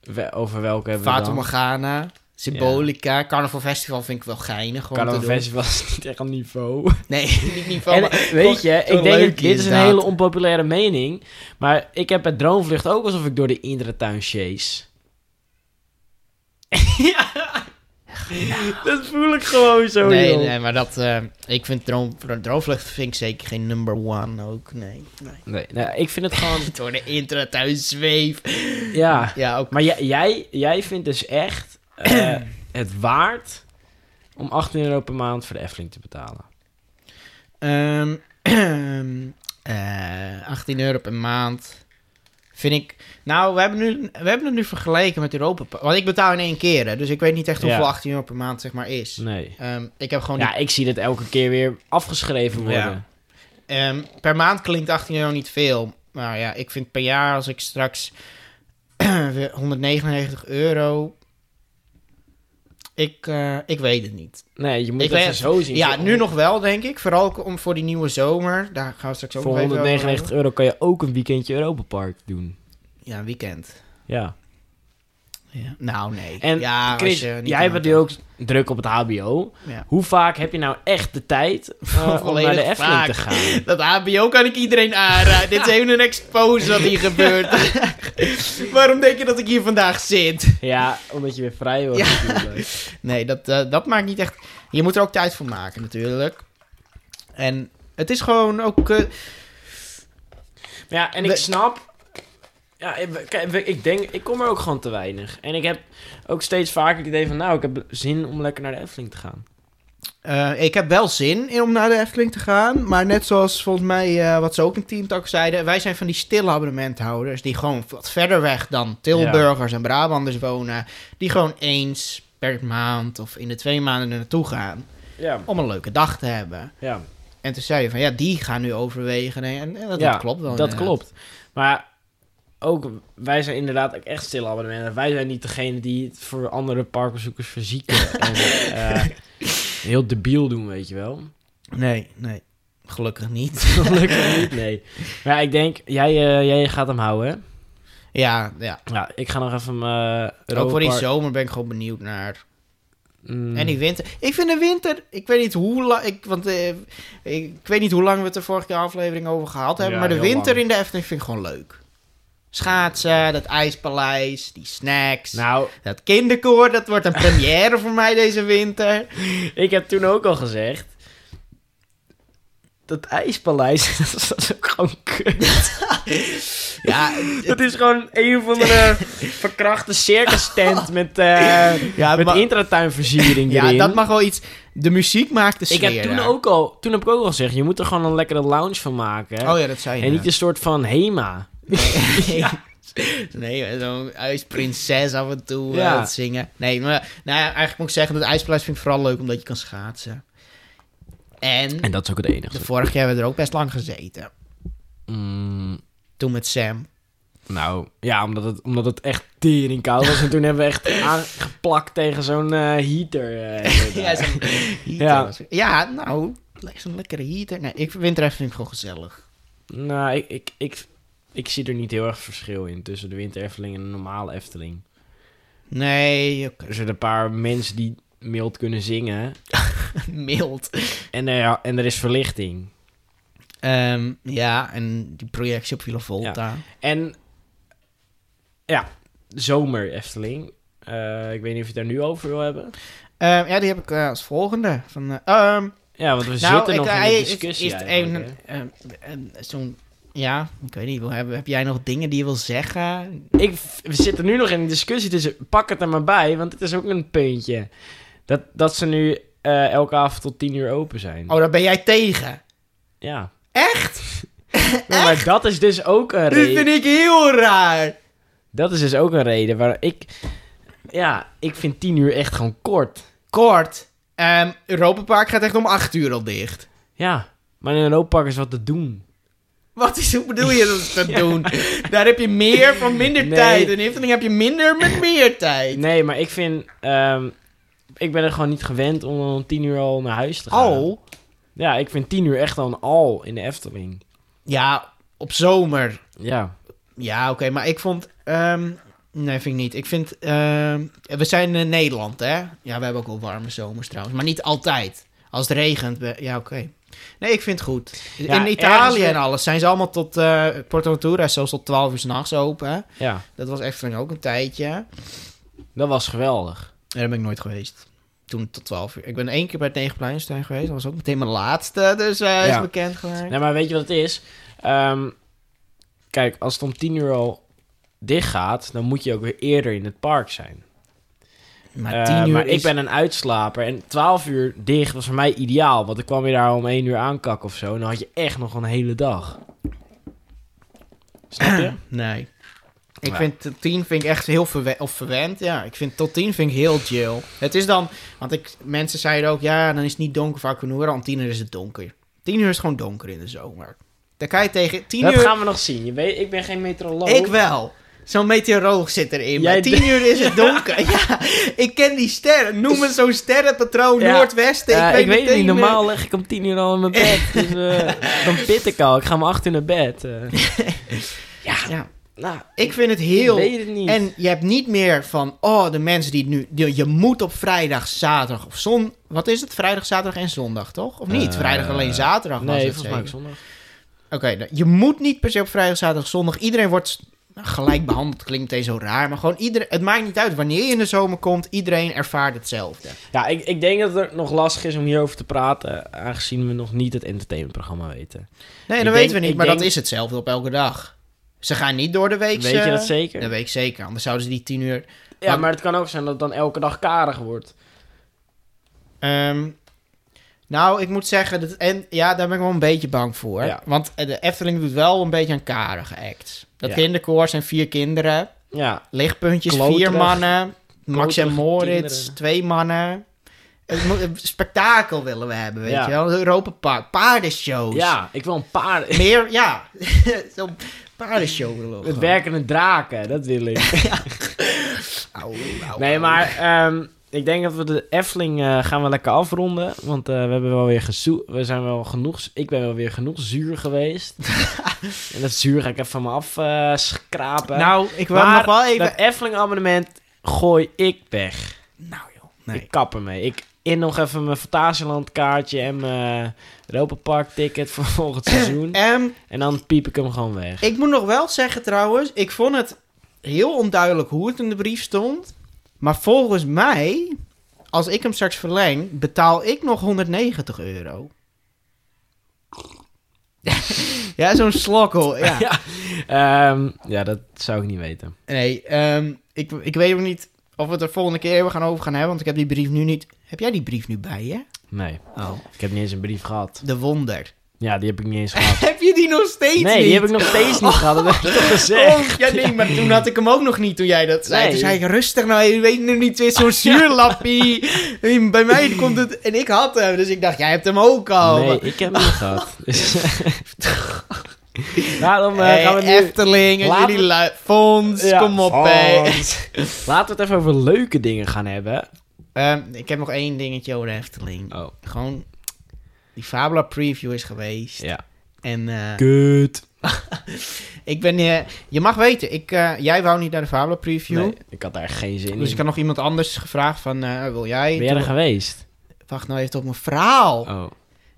[SPEAKER 1] We- over welke hebben we
[SPEAKER 2] Fata
[SPEAKER 1] dan?
[SPEAKER 2] Morgana, Symbolica, Carnaval Festival vind ik wel geinig. om
[SPEAKER 1] Carnaval
[SPEAKER 2] te doen.
[SPEAKER 1] Festival is niet echt een niveau.
[SPEAKER 2] Nee, niet niveau.
[SPEAKER 1] En, eh,
[SPEAKER 2] maar gewoon
[SPEAKER 1] weet je,
[SPEAKER 2] zo
[SPEAKER 1] ik denk,
[SPEAKER 2] leuk
[SPEAKER 1] dat- dit is een
[SPEAKER 2] inderdaad.
[SPEAKER 1] hele onpopulaire mening, maar ik heb bij Droomvlucht ook alsof ik door de Intratuin chase. ja, dat voel ik gewoon zo,
[SPEAKER 2] Nee,
[SPEAKER 1] joh.
[SPEAKER 2] nee, maar dat... eh, ik vind droom, Droomvlucht vind ik zeker geen number one ook, nee. nee.
[SPEAKER 1] Nee, nou, ik vind het gewoon,
[SPEAKER 2] Door de intratuin zweef.
[SPEAKER 1] ja...
[SPEAKER 2] Ja, ook.
[SPEAKER 1] Maar jij, jij, jij vindt dus echt eh, het waard om 18 euro per maand voor de Efteling te betalen.
[SPEAKER 2] Ehm, eh, 18 euro per maand vind ik... Nou, we hebben, nu, we hebben het nu vergeleken met Europa. Park. Want ik betaal in één keer, hè, dus ik weet niet echt
[SPEAKER 1] Ja.
[SPEAKER 2] hoeveel 18 euro per maand zeg maar is.
[SPEAKER 1] Nee.
[SPEAKER 2] Ehm, ik heb gewoon...
[SPEAKER 1] Ja, ik zie dat elke keer weer afgeschreven worden.
[SPEAKER 2] Ja. Ehm, per maand klinkt 18 euro niet veel. Maar ja, ik vind per jaar als ik straks weer 199 euro. Ik, eh, ik weet het niet.
[SPEAKER 1] Nee, je moet
[SPEAKER 2] Ik
[SPEAKER 1] dat
[SPEAKER 2] weet-
[SPEAKER 1] zo zien.
[SPEAKER 2] Ja,
[SPEAKER 1] Voor-
[SPEAKER 2] nu nog wel, denk ik. Vooral ook om voor die nieuwe zomer. Daar gaan we straks ook
[SPEAKER 1] Voor
[SPEAKER 2] nog even over
[SPEAKER 1] 199 euro kan je ook een weekendje Europa Park doen.
[SPEAKER 2] hebben. Ja, een weekend.
[SPEAKER 1] Ja.
[SPEAKER 2] Ja. Nou, nee.
[SPEAKER 1] En
[SPEAKER 2] ja,
[SPEAKER 1] Chris,
[SPEAKER 2] als je niet
[SPEAKER 1] jij
[SPEAKER 2] aan
[SPEAKER 1] bent
[SPEAKER 2] het-
[SPEAKER 1] nu ook druk op het HBO.
[SPEAKER 2] Ja.
[SPEAKER 1] Hoe vaak heb je nou echt de tijd eh, om naar
[SPEAKER 2] Volledig
[SPEAKER 1] de Efteling te
[SPEAKER 2] vaak.
[SPEAKER 1] gaan?
[SPEAKER 2] Dat HBO kan ik iedereen aanraden. Dit is even een expose wat hier gebeurt. Waarom denk je dat ik hier vandaag zit?
[SPEAKER 1] Ja, omdat je weer vrij was natuurlijk.
[SPEAKER 2] Nee, dat, eh, dat maakt niet echt. Je moet er ook tijd voor maken, natuurlijk. En het is gewoon ook. eh,
[SPEAKER 1] Maar Ja, en ik
[SPEAKER 2] We-
[SPEAKER 1] snap. Ja, ik, kijk, we- ik denk, ik kom er ook gewoon te weinig. En ik heb ook steeds vaker het idee van, nou, ik heb zin om lekker naar de Efteling te gaan.
[SPEAKER 2] eh, ik heb wel zin in om naar de Efteling te gaan. Maar net zoals volgens mij, eh, wat ze ook in Team Talk zeiden. Wij zijn van die stille abonnementhouders. Die gewoon wat verder weg dan Tilburgers en Brabanders wonen. Die gewoon eens per maand of in de twee maanden er naartoe gaan.
[SPEAKER 1] Ja,
[SPEAKER 2] Om een leuke dag te hebben.
[SPEAKER 1] ja,
[SPEAKER 2] En toen zei je van ja, die gaan nu overwegen. En, en dat,
[SPEAKER 1] Ja,
[SPEAKER 2] dat klopt wel.
[SPEAKER 1] dat
[SPEAKER 2] inderdaad.
[SPEAKER 1] klopt. Maar ook, wij zijn inderdaad ook echt stille abonnementen. Wij zijn niet degene die het voor andere parkbezoekers verzieken. en eh, heel debiel doen, weet je wel.
[SPEAKER 2] Nee, nee. Gelukkig niet.
[SPEAKER 1] Gelukkig niet, nee. Maar ja, ik denk, jij, eh, jij gaat hem houden, hè?
[SPEAKER 2] Ja, ja.
[SPEAKER 1] Ja, ik ga nog even... Uh,
[SPEAKER 2] ook voor die zomer ben ik gewoon benieuwd naar.
[SPEAKER 1] Mm.
[SPEAKER 2] En die winter. Ik vind de winter. Ik weet niet hoe lang. Ik, want eh, ik, ik weet niet hoe lang we het de vorige keer aflevering over gehad hebben.
[SPEAKER 1] Ja,
[SPEAKER 2] maar de
[SPEAKER 1] heel
[SPEAKER 2] winter
[SPEAKER 1] lang.
[SPEAKER 2] in de Efteling vind ik gewoon leuk. Schaatsen, dat ijspaleis, die snacks.
[SPEAKER 1] Nou,
[SPEAKER 2] Dat kinderkoor, dat wordt een première voor mij deze winter.
[SPEAKER 1] Ik heb toen ook al gezegd. Dat ijspaleis, dat is ook gewoon kut.
[SPEAKER 2] Ja,
[SPEAKER 1] Dat is gewoon een van de verkrachte circus tent met, eh
[SPEAKER 2] ja,
[SPEAKER 1] met
[SPEAKER 2] maar-
[SPEAKER 1] intratuinversiering
[SPEAKER 2] ja,
[SPEAKER 1] erin.
[SPEAKER 2] dat mag wel iets. De muziek maakt de
[SPEAKER 1] ik
[SPEAKER 2] sfeer.
[SPEAKER 1] heb toen
[SPEAKER 2] daar.
[SPEAKER 1] ook al, toen heb ik ook al gezegd, je moet er gewoon een lekkere lounge van maken.
[SPEAKER 2] Oh ja, dat zei je.
[SPEAKER 1] En niet
[SPEAKER 2] nou.
[SPEAKER 1] een soort van Hema.
[SPEAKER 2] Nee, nee zo'n ijsprinses af en toe
[SPEAKER 1] Ja.
[SPEAKER 2] eh, het zingen. Nee, maar nou ja, eigenlijk moet ik zeggen, dat ijspaleis vind ik vooral leuk omdat je kan schaatsen. En,
[SPEAKER 1] En dat is ook het enige.
[SPEAKER 2] de vorige keer hebben we er ook best lang gezeten.
[SPEAKER 1] Mm,
[SPEAKER 2] Toen met Sam.
[SPEAKER 1] nou, ja, omdat het, omdat het echt tering koud was. en toen hebben we echt aangeplakt tegen zo'n eh, heater. eh,
[SPEAKER 2] Ja,
[SPEAKER 1] daar.
[SPEAKER 2] zo'n heater.
[SPEAKER 1] Ja.
[SPEAKER 2] was- Ja, nou, le- zo'n lekkere heater. Nee, ik, winterrecht vind ik gewoon gezellig.
[SPEAKER 1] Nou, ik, ik, ik, ik zie er niet heel erg verschil in tussen de winterefteling en de normale Efteling.
[SPEAKER 2] Nee, oké.
[SPEAKER 1] Er zijn een paar mensen die mild kunnen zingen.
[SPEAKER 2] mild.
[SPEAKER 1] En er, en er is verlichting.
[SPEAKER 2] Ehm, ja, en die projectie op Villa Volta.
[SPEAKER 1] En ja, zomer Efteling. Eh, ik weet niet of je het daar nu over wil hebben.
[SPEAKER 2] Ja, ja die heb ik eh, als volgende. Van, eh, ehm,
[SPEAKER 1] Ja, want we
[SPEAKER 2] nou,
[SPEAKER 1] zitten
[SPEAKER 2] ik,
[SPEAKER 1] nog in
[SPEAKER 2] eh,
[SPEAKER 1] de
[SPEAKER 2] is-
[SPEAKER 1] discussie
[SPEAKER 2] is het
[SPEAKER 1] eigenlijk,
[SPEAKER 2] even, ehm, ehm, zo'n... Ja, ik weet niet, wil hebben, heb jij nog dingen die je wil zeggen?
[SPEAKER 1] hè. ik, we zitten nu nog in een discussie, dus pak het er maar bij, want het is ook een puntje. Dat, dat ze nu eh, elke avond tot tien uur open zijn.
[SPEAKER 2] Oh, daar ben jij tegen.
[SPEAKER 1] Ja.
[SPEAKER 2] Echt?
[SPEAKER 1] Nou, maar dat is dus ook een
[SPEAKER 2] Dit
[SPEAKER 1] reden.
[SPEAKER 2] vind ik heel raar.
[SPEAKER 1] Dat is dus ook een reden waar ik... Ja, ik vind tien uur echt gewoon kort.
[SPEAKER 2] Kort. Ehm Europa Park gaat echt om 8 uur al dicht.
[SPEAKER 1] Ja, maar in een looppak is wat te doen.
[SPEAKER 2] Wat is, hoe bedoel je dat ze dat doen? Daar heb je meer van minder
[SPEAKER 1] Nee.
[SPEAKER 2] tijd. In Efteling heb je minder met meer tijd.
[SPEAKER 1] Nee, maar ik vind... ehm, ik ben er gewoon niet gewend om om tien uur al naar huis te gaan.
[SPEAKER 2] Al?
[SPEAKER 1] Ja, ik vind tien uur echt al een al in de Efteling.
[SPEAKER 2] Ja, op zomer.
[SPEAKER 1] Ja.
[SPEAKER 2] Ja, oké, maar ik vond... ehm, nee, vind ik niet. Ik vind... ehm, we zijn in Nederland, hè? Ja, we hebben ook wel warme zomers trouwens. Maar niet altijd. Als het regent... we- ja, oké. Nee, ik vind het goed. in Italië
[SPEAKER 1] ergens-
[SPEAKER 2] en alles zijn ze allemaal tot... eh Porto Ventura is zelfs tot 12 uur s'nachts open. hè?
[SPEAKER 1] Ja,
[SPEAKER 2] Dat was Efteling ook een tijdje.
[SPEAKER 1] dat was geweldig.
[SPEAKER 2] Daar ben ik nooit geweest. Toen tot 12 uur. Ik ben één keer bij het Negenpleinstein geweest. Dat was ook meteen mijn laatste. Dus eh
[SPEAKER 1] Ja.
[SPEAKER 2] is bekend gemaakt.
[SPEAKER 1] Nee, maar weet je wat het is? Ehm, kijk, als het om tien uur al dicht gaat, dan moet je ook weer eerder in het park zijn.
[SPEAKER 2] Maar
[SPEAKER 1] Eh,
[SPEAKER 2] 10 uur
[SPEAKER 1] maar
[SPEAKER 2] is...
[SPEAKER 1] ik ben een uitslaper en 12 uur dicht was voor mij ideaal, want ik kwam weer daar om 1 uur aankakken of zo. En dan had je echt nog een hele dag. Snap je?
[SPEAKER 2] Nee. Ik
[SPEAKER 1] Ja.
[SPEAKER 2] vind tot 10 vind ik echt heel verwe of verwend. Ja, ik vind tot 10 vind ik heel chill. Het is dan, want ik, mensen zeiden ook, ja, dan is het niet donker voor Aquanura. Om 10 uur is het donker. 10 uur is gewoon donker in de zomer. Dan kan je tegen 10
[SPEAKER 1] dat
[SPEAKER 2] uur.
[SPEAKER 1] gaan we nog zien. Je weet, ik ben geen meteoroloog.
[SPEAKER 2] Ik wel. Zo'n meteoroloog zit erin.
[SPEAKER 1] Jij
[SPEAKER 2] maar 10 uur is het donker. ja, ik ken die sterren. Noem me zo'n sterrenpatroon
[SPEAKER 1] Ja.
[SPEAKER 2] Noordwesten.
[SPEAKER 1] Eh, ik weet
[SPEAKER 2] meteen
[SPEAKER 1] niet,
[SPEAKER 2] weer-
[SPEAKER 1] normaal leg ik om 10 uur al in mijn bed. Dus, eh, dan pit ik al. Ik ga om 8 uur naar bed. eh.
[SPEAKER 2] Ja,
[SPEAKER 1] nou,
[SPEAKER 2] ik vind het heel.
[SPEAKER 1] weet het niet.
[SPEAKER 2] En je hebt niet meer van, oh, de mensen die het nu... die- je moet op vrijdag, zaterdag of zon... Wat is het? Vrijdag, zaterdag en zondag, toch? Of niet?
[SPEAKER 1] Eh,
[SPEAKER 2] vrijdag alleen zaterdag was
[SPEAKER 1] nee,
[SPEAKER 2] het
[SPEAKER 1] volgens mij ook
[SPEAKER 2] zeker.
[SPEAKER 1] zondag.
[SPEAKER 2] Oké, nou, je moet niet per se op vrijdag, zaterdag, zondag. Iedereen wordt nou, gelijk behandeld. Klinkt meteen zo raar, maar gewoon iedereen... Het maakt niet uit wanneer je in de zomer komt. Iedereen ervaart hetzelfde.
[SPEAKER 1] Ja, ik, ik denk dat het nog lastig is om hierover te praten, aangezien we nog niet het entertainmentprogramma weten.
[SPEAKER 2] Nee,
[SPEAKER 1] Ik
[SPEAKER 2] dat
[SPEAKER 1] denk-
[SPEAKER 2] weten we niet,
[SPEAKER 1] ik
[SPEAKER 2] maar dat
[SPEAKER 1] denk-
[SPEAKER 2] is hetzelfde op elke dag. Ze gaan niet door de week...
[SPEAKER 1] Weet je dat zeker?
[SPEAKER 2] Dat weet ik zeker, anders zouden ze die tien uur...
[SPEAKER 1] Ja, maar het kan ook zijn dat het dan elke dag karig wordt.
[SPEAKER 2] Ehm, nou, ik moet zeggen, dat, en ja, daar ben ik wel een beetje bang voor.
[SPEAKER 1] Ja.
[SPEAKER 2] Want eh, de Efteling doet wel een beetje aan karige acts. Dat
[SPEAKER 1] Ja.
[SPEAKER 2] kinderkoor zijn vier kinderen,
[SPEAKER 1] Ja,
[SPEAKER 2] lichtpuntjes vier
[SPEAKER 1] Kloterig.
[SPEAKER 2] mannen, Max en
[SPEAKER 1] Kloterige
[SPEAKER 2] Moritz
[SPEAKER 1] kinderen.
[SPEAKER 2] twee mannen. Het moet- een spektakel willen we hebben, weet
[SPEAKER 1] Ja.
[SPEAKER 2] je wel? Een Europa Park, paardenshows.
[SPEAKER 1] ja ik wil een paar...
[SPEAKER 2] Meer, ja, zo'n paardenshow willen we
[SPEAKER 1] Het
[SPEAKER 2] gewoon.
[SPEAKER 1] werkende draken, dat wil ik.
[SPEAKER 2] Au, au,
[SPEAKER 1] Nee,
[SPEAKER 2] au.
[SPEAKER 1] maar ehm, ik denk dat we de Efteling eh, gaan we lekker afronden. Want eh, we hebben wel weer gezoe... We zijn wel genoeg... Ik ben wel weer genoeg zuur geweest. en dat zuur ga ik even van me af eh, schrapen.
[SPEAKER 2] Nou, ik wil
[SPEAKER 1] Maar
[SPEAKER 2] nog wel even...
[SPEAKER 1] dat Efteling abonnement gooi ik weg.
[SPEAKER 2] Nou joh, nee.
[SPEAKER 1] Ik kap ermee. Ik in nog even mijn Fantasieland kaartje en mijn Europa Park ticket voor volgend seizoen.
[SPEAKER 2] Ehm,
[SPEAKER 1] En dan piep ik hem gewoon weg.
[SPEAKER 2] Ik moet nog wel zeggen trouwens, ik vond het heel onduidelijk hoe het in de brief stond. Maar volgens mij, als ik hem straks verleng, betaal ik nog 190 euro. ja, zo'n slokkel. Ja.
[SPEAKER 1] Ehm, ja, dat zou ik niet weten.
[SPEAKER 2] Nee, ehm, ik, ik weet ook niet of we het er volgende keer even gaan over gaan hebben, want ik heb die brief nu niet... Heb jij die brief nu bij je?
[SPEAKER 1] Nee,
[SPEAKER 2] Oh.
[SPEAKER 1] ik heb niet eens een brief gehad.
[SPEAKER 2] De wonder.
[SPEAKER 1] Ja, die heb ik niet eens gehad.
[SPEAKER 2] Heb je die nog steeds
[SPEAKER 1] Nee,
[SPEAKER 2] niet?
[SPEAKER 1] die heb ik nog steeds niet gehad. Dat heb ik toch gezegd.
[SPEAKER 2] Oh, ja, nee, maar toen had ik hem ook nog niet toen jij dat zei.
[SPEAKER 1] Nee.
[SPEAKER 2] Toen zei ik, rustig nou, je weet nu niet weer zo'n zuurlappie. En Bij mij komt het... En ik had hem, dus ik dacht, jij hebt hem ook al.
[SPEAKER 1] nee, ik heb hem niet gehad. Daarom eh,
[SPEAKER 2] Hey,
[SPEAKER 1] gaan we nu...
[SPEAKER 2] Efteling en
[SPEAKER 1] Laten
[SPEAKER 2] jullie
[SPEAKER 1] we-
[SPEAKER 2] lui... Fonds,
[SPEAKER 1] Ja,
[SPEAKER 2] kom op, hé.
[SPEAKER 1] Laten we het even over leuke dingen gaan hebben.
[SPEAKER 2] Ehm, ik heb nog één dingetje over de Efteling.
[SPEAKER 1] Oh,
[SPEAKER 2] Gewoon, die Fabula preview is geweest.
[SPEAKER 1] ja.
[SPEAKER 2] En eh,
[SPEAKER 1] Kut.
[SPEAKER 2] ik ben... eh, je mag weten, ik, eh, jij wou niet naar de Fabula preview.
[SPEAKER 1] Nee, ik had daar geen zin
[SPEAKER 2] Dus
[SPEAKER 1] in.
[SPEAKER 2] ik had nog iemand anders gevraagd van, eh, wil jij?
[SPEAKER 1] Ben jij er
[SPEAKER 2] Toen-
[SPEAKER 1] geweest?
[SPEAKER 2] Wacht nou even op mijn verhaal.
[SPEAKER 1] Oh.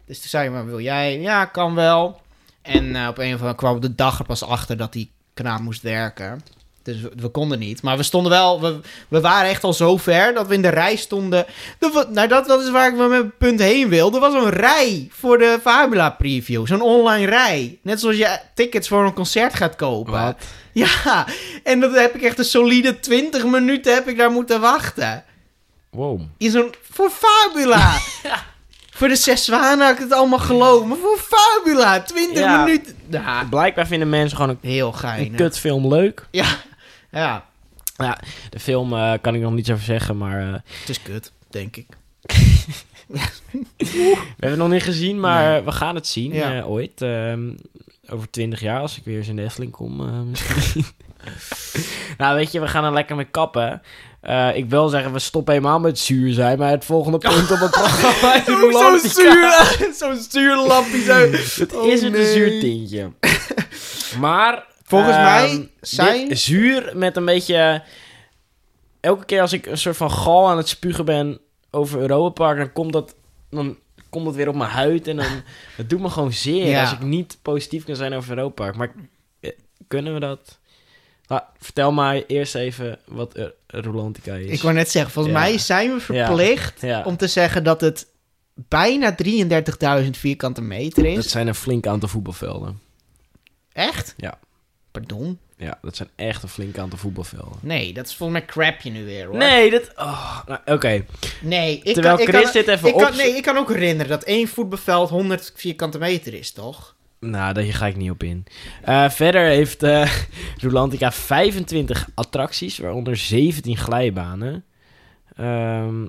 [SPEAKER 2] Dus toen zei ik, maar wil jij? Ja, kan wel. En eh, op een of andere kwam de dag er pas achter dat die knaap moest werken. Dus we, we konden niet. Maar we stonden wel, we, we waren echt al zo ver dat we in de rij stonden. Er wa- nou, dat, dat is waar ik met mijn punt heen wil. Er was een rij voor de Fabula preview. Zo'n online rij. Net zoals je tickets voor een concert gaat kopen.
[SPEAKER 1] Wat?
[SPEAKER 2] Ja, en dat heb ik echt een solide 20 minuten heb ik daar moeten wachten.
[SPEAKER 1] Wow.
[SPEAKER 2] In zo'n... Voor Fabula! Voor de zes zwanen had ik het allemaal geloofd. Maar voor Fabula, 20
[SPEAKER 1] Ja.
[SPEAKER 2] minuten. Ja,
[SPEAKER 1] Blijkbaar vinden mensen gewoon
[SPEAKER 2] heel
[SPEAKER 1] een, een
[SPEAKER 2] geinig.
[SPEAKER 1] kutfilm leuk.
[SPEAKER 2] Ja, ja,
[SPEAKER 1] De film eh, kan ik nog niets over zeggen, maar... eh,
[SPEAKER 2] het is kut, denk ik.
[SPEAKER 1] we hebben het nog niet gezien, maar we gaan het zien
[SPEAKER 2] Ja.
[SPEAKER 1] eh, ooit. Ehm, over twintig jaar, als ik weer eens in de Efteling kom, eh, misschien. nou, weet je, we gaan er lekker mee kappen. Eh, ik wil zeggen, we stoppen helemaal met zuur zijn, maar het volgende punt op het programma is
[SPEAKER 2] Oh, Zo'n
[SPEAKER 1] romantica.
[SPEAKER 2] zuur, zo'n zuur lampje. Zo.
[SPEAKER 1] Het
[SPEAKER 2] Oh,
[SPEAKER 1] is het een
[SPEAKER 2] nee.
[SPEAKER 1] zuur tintje. Maar...
[SPEAKER 2] Volgens
[SPEAKER 1] ehm,
[SPEAKER 2] mij zijn-
[SPEAKER 1] dit Zuur met een beetje... eh, Elke keer als ik een soort van gal aan het spugen ben over Europa Park, dan komt dat... Dan komt dat weer op mijn huid en dan... Het doet me gewoon zeer
[SPEAKER 2] Ja.
[SPEAKER 1] als ik niet positief kan zijn over Europa Park. Maar eh, kunnen we dat... Nou, vertel mij eerst even wat er- Rolantica is.
[SPEAKER 2] Ik wou net zeggen, volgens
[SPEAKER 1] Ja.
[SPEAKER 2] mij zijn we verplicht
[SPEAKER 1] Ja,
[SPEAKER 2] om te zeggen dat het bijna 33.000 vierkante meter is.
[SPEAKER 1] dat zijn een flink aantal voetbalvelden.
[SPEAKER 2] Echt?
[SPEAKER 1] Ja.
[SPEAKER 2] Pardon?
[SPEAKER 1] Ja, dat zijn echt een flink aantal voetbalvelden.
[SPEAKER 2] Nee, dat is volgens mij crapje nu weer hoor.
[SPEAKER 1] Nee, dat... Oh, nou, Oké,
[SPEAKER 2] Nee, ik
[SPEAKER 1] Terwijl
[SPEAKER 2] kan, ik
[SPEAKER 1] Chris
[SPEAKER 2] kan,
[SPEAKER 1] dit even
[SPEAKER 2] ik kan,
[SPEAKER 1] opzo-
[SPEAKER 2] Nee, ik kan ook herinneren dat één voetbalveld 100 vierkante meter is, toch?
[SPEAKER 1] Nou, daar ga ik niet op in. Eh, verder heeft eh Rulantica 25 attracties, waaronder 17 glijbanen. Ehm,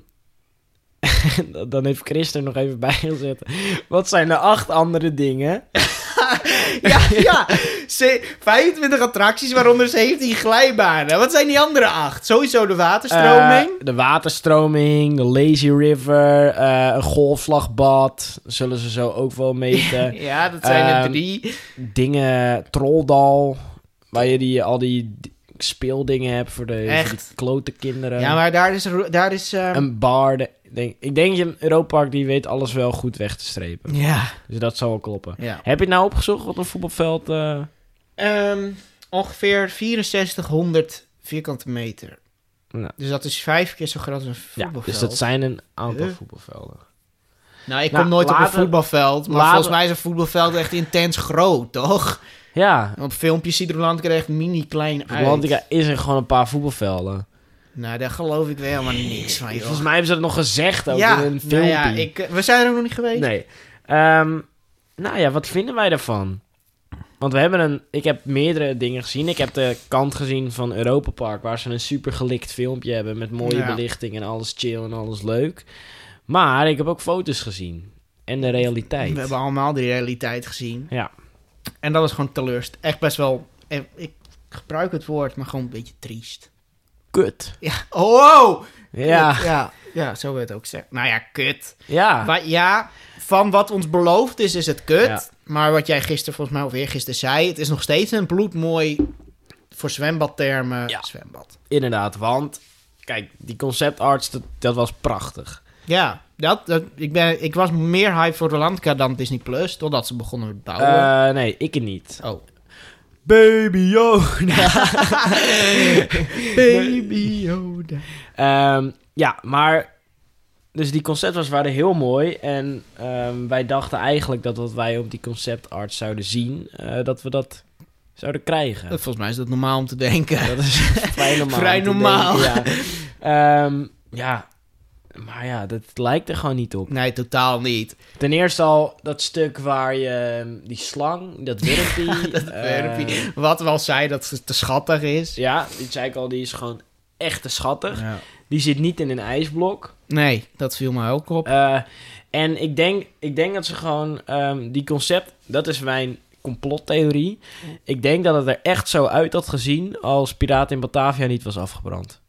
[SPEAKER 1] dan heeft Chris er nog even bij gezet. Wat zijn de acht andere dingen?
[SPEAKER 2] ja, ja. Ze- 25 attracties, waaronder 17 glijbanen. Wat zijn die andere acht? Sowieso de waterstroming.
[SPEAKER 1] Eh, de waterstroming, de lazy river, eh, een golfslagbad. Zullen ze zo ook wel meten.
[SPEAKER 2] ja, dat zijn er
[SPEAKER 1] Eh, ehm,
[SPEAKER 2] drie.
[SPEAKER 1] dingen, trolldal, waar je die, al die d- speeldingen hebt voor de, voor die
[SPEAKER 2] Echt?
[SPEAKER 1] klote kinderen.
[SPEAKER 2] Ja, maar daar is... ro- Daar is ehm,
[SPEAKER 1] een bar. de- denk, ik denk je Europa Park die weet alles wel goed weg te strepen.
[SPEAKER 2] ja,
[SPEAKER 1] Dus dat zal wel kloppen.
[SPEAKER 2] ja.
[SPEAKER 1] Heb je het nou opgezocht wat een voetbalveld? eh,
[SPEAKER 2] Ehm, ongeveer 6400 vierkante meter.
[SPEAKER 1] Nou.
[SPEAKER 2] Dus dat is vijf keer zo groot als een
[SPEAKER 1] ja,
[SPEAKER 2] voetbalveld.
[SPEAKER 1] dus dat zijn een aantal
[SPEAKER 2] Huh?
[SPEAKER 1] voetbalvelden.
[SPEAKER 2] Nou, ik
[SPEAKER 1] Nou,
[SPEAKER 2] kom nooit op
[SPEAKER 1] laten-
[SPEAKER 2] een voetbalveld, maar
[SPEAKER 1] laten-
[SPEAKER 2] volgens mij is een voetbalveld echt intens groot, toch?
[SPEAKER 1] Ja,
[SPEAKER 2] Op filmpjes ziet Rolantica er echt mini klein uit.
[SPEAKER 1] Atlantica is er gewoon een paar voetbalvelden.
[SPEAKER 2] Nou, daar geloof ik wel helemaal niks van, Ah, joh.
[SPEAKER 1] Volgens mij hebben ze dat nog gezegd ook
[SPEAKER 2] ja,
[SPEAKER 1] in een
[SPEAKER 2] nou
[SPEAKER 1] filmpje.
[SPEAKER 2] ja, ik, eh, we zijn er nog niet geweest.
[SPEAKER 1] Nee. Ehm, nou ja, wat vinden wij daarvan? Want we hebben een... Ik heb meerdere dingen gezien. Ik heb de kant gezien van Europa Park... waar ze een super gelikt filmpje hebben... met mooie
[SPEAKER 2] Ja.
[SPEAKER 1] belichting en alles chill en alles leuk. Maar ik heb ook foto's gezien. En de realiteit.
[SPEAKER 2] We hebben allemaal de realiteit gezien.
[SPEAKER 1] Ja.
[SPEAKER 2] En dat was gewoon teleurst. Echt best wel, eh, ik gebruik het woord, maar gewoon een beetje triest.
[SPEAKER 1] Kut.
[SPEAKER 2] Ja, oh, wow!
[SPEAKER 1] Ja.
[SPEAKER 2] Ja, ja zo werd het ook gezegd. Nou ja, kut.
[SPEAKER 1] Ja.
[SPEAKER 2] Wa- ja, van wat ons beloofd is, is het kut.
[SPEAKER 1] Ja.
[SPEAKER 2] Maar wat jij gisteren, volgens mij, of eergisteren zei... het is nog steeds een bloedmooi, voor zwembadtermen,
[SPEAKER 1] Ja.
[SPEAKER 2] zwembad.
[SPEAKER 1] Inderdaad, want... Kijk, die conceptarts, dat, dat was prachtig.
[SPEAKER 2] Ja, dat, dat, ik, ben, ik was meer hype voor Rolandica dan Disney+, Plus, totdat ze begonnen met bouwen.
[SPEAKER 1] Eh, nee, ik niet.
[SPEAKER 2] oh.
[SPEAKER 1] Baby Yoda.
[SPEAKER 2] Baby Yoda.
[SPEAKER 1] Ehm, ja, maar. Dus die conceptars waren heel mooi. En ehm, wij dachten eigenlijk dat wat wij op die conceptart zouden zien, eh, dat we dat zouden krijgen.
[SPEAKER 2] Dat- Volgens mij is dat normaal om te denken.
[SPEAKER 1] Dat is vrij normaal.
[SPEAKER 2] Vrij
[SPEAKER 1] om te
[SPEAKER 2] normaal.
[SPEAKER 1] denken, ja. Ehm, ja, Maar ja, dat lijkt er gewoon niet op.
[SPEAKER 2] Nee, totaal niet.
[SPEAKER 1] Ten eerste al dat stuk waar je ehm, die slang, dat wurmpie.
[SPEAKER 2] Dat
[SPEAKER 1] eh,
[SPEAKER 2] werpje. Wat we al zei, dat het te schattig is.
[SPEAKER 1] ja, die zei ik al, die is gewoon echt te schattig. Die zit niet in een ijsblok.
[SPEAKER 2] Nee, dat viel me ook op.
[SPEAKER 1] Eh, en ik denk, ik denk dat ze gewoon ehm, die concept, dat is mijn complottheorie. Ik denk dat het er echt zo uit had gezien als Piraten in Batavia niet was afgebrand.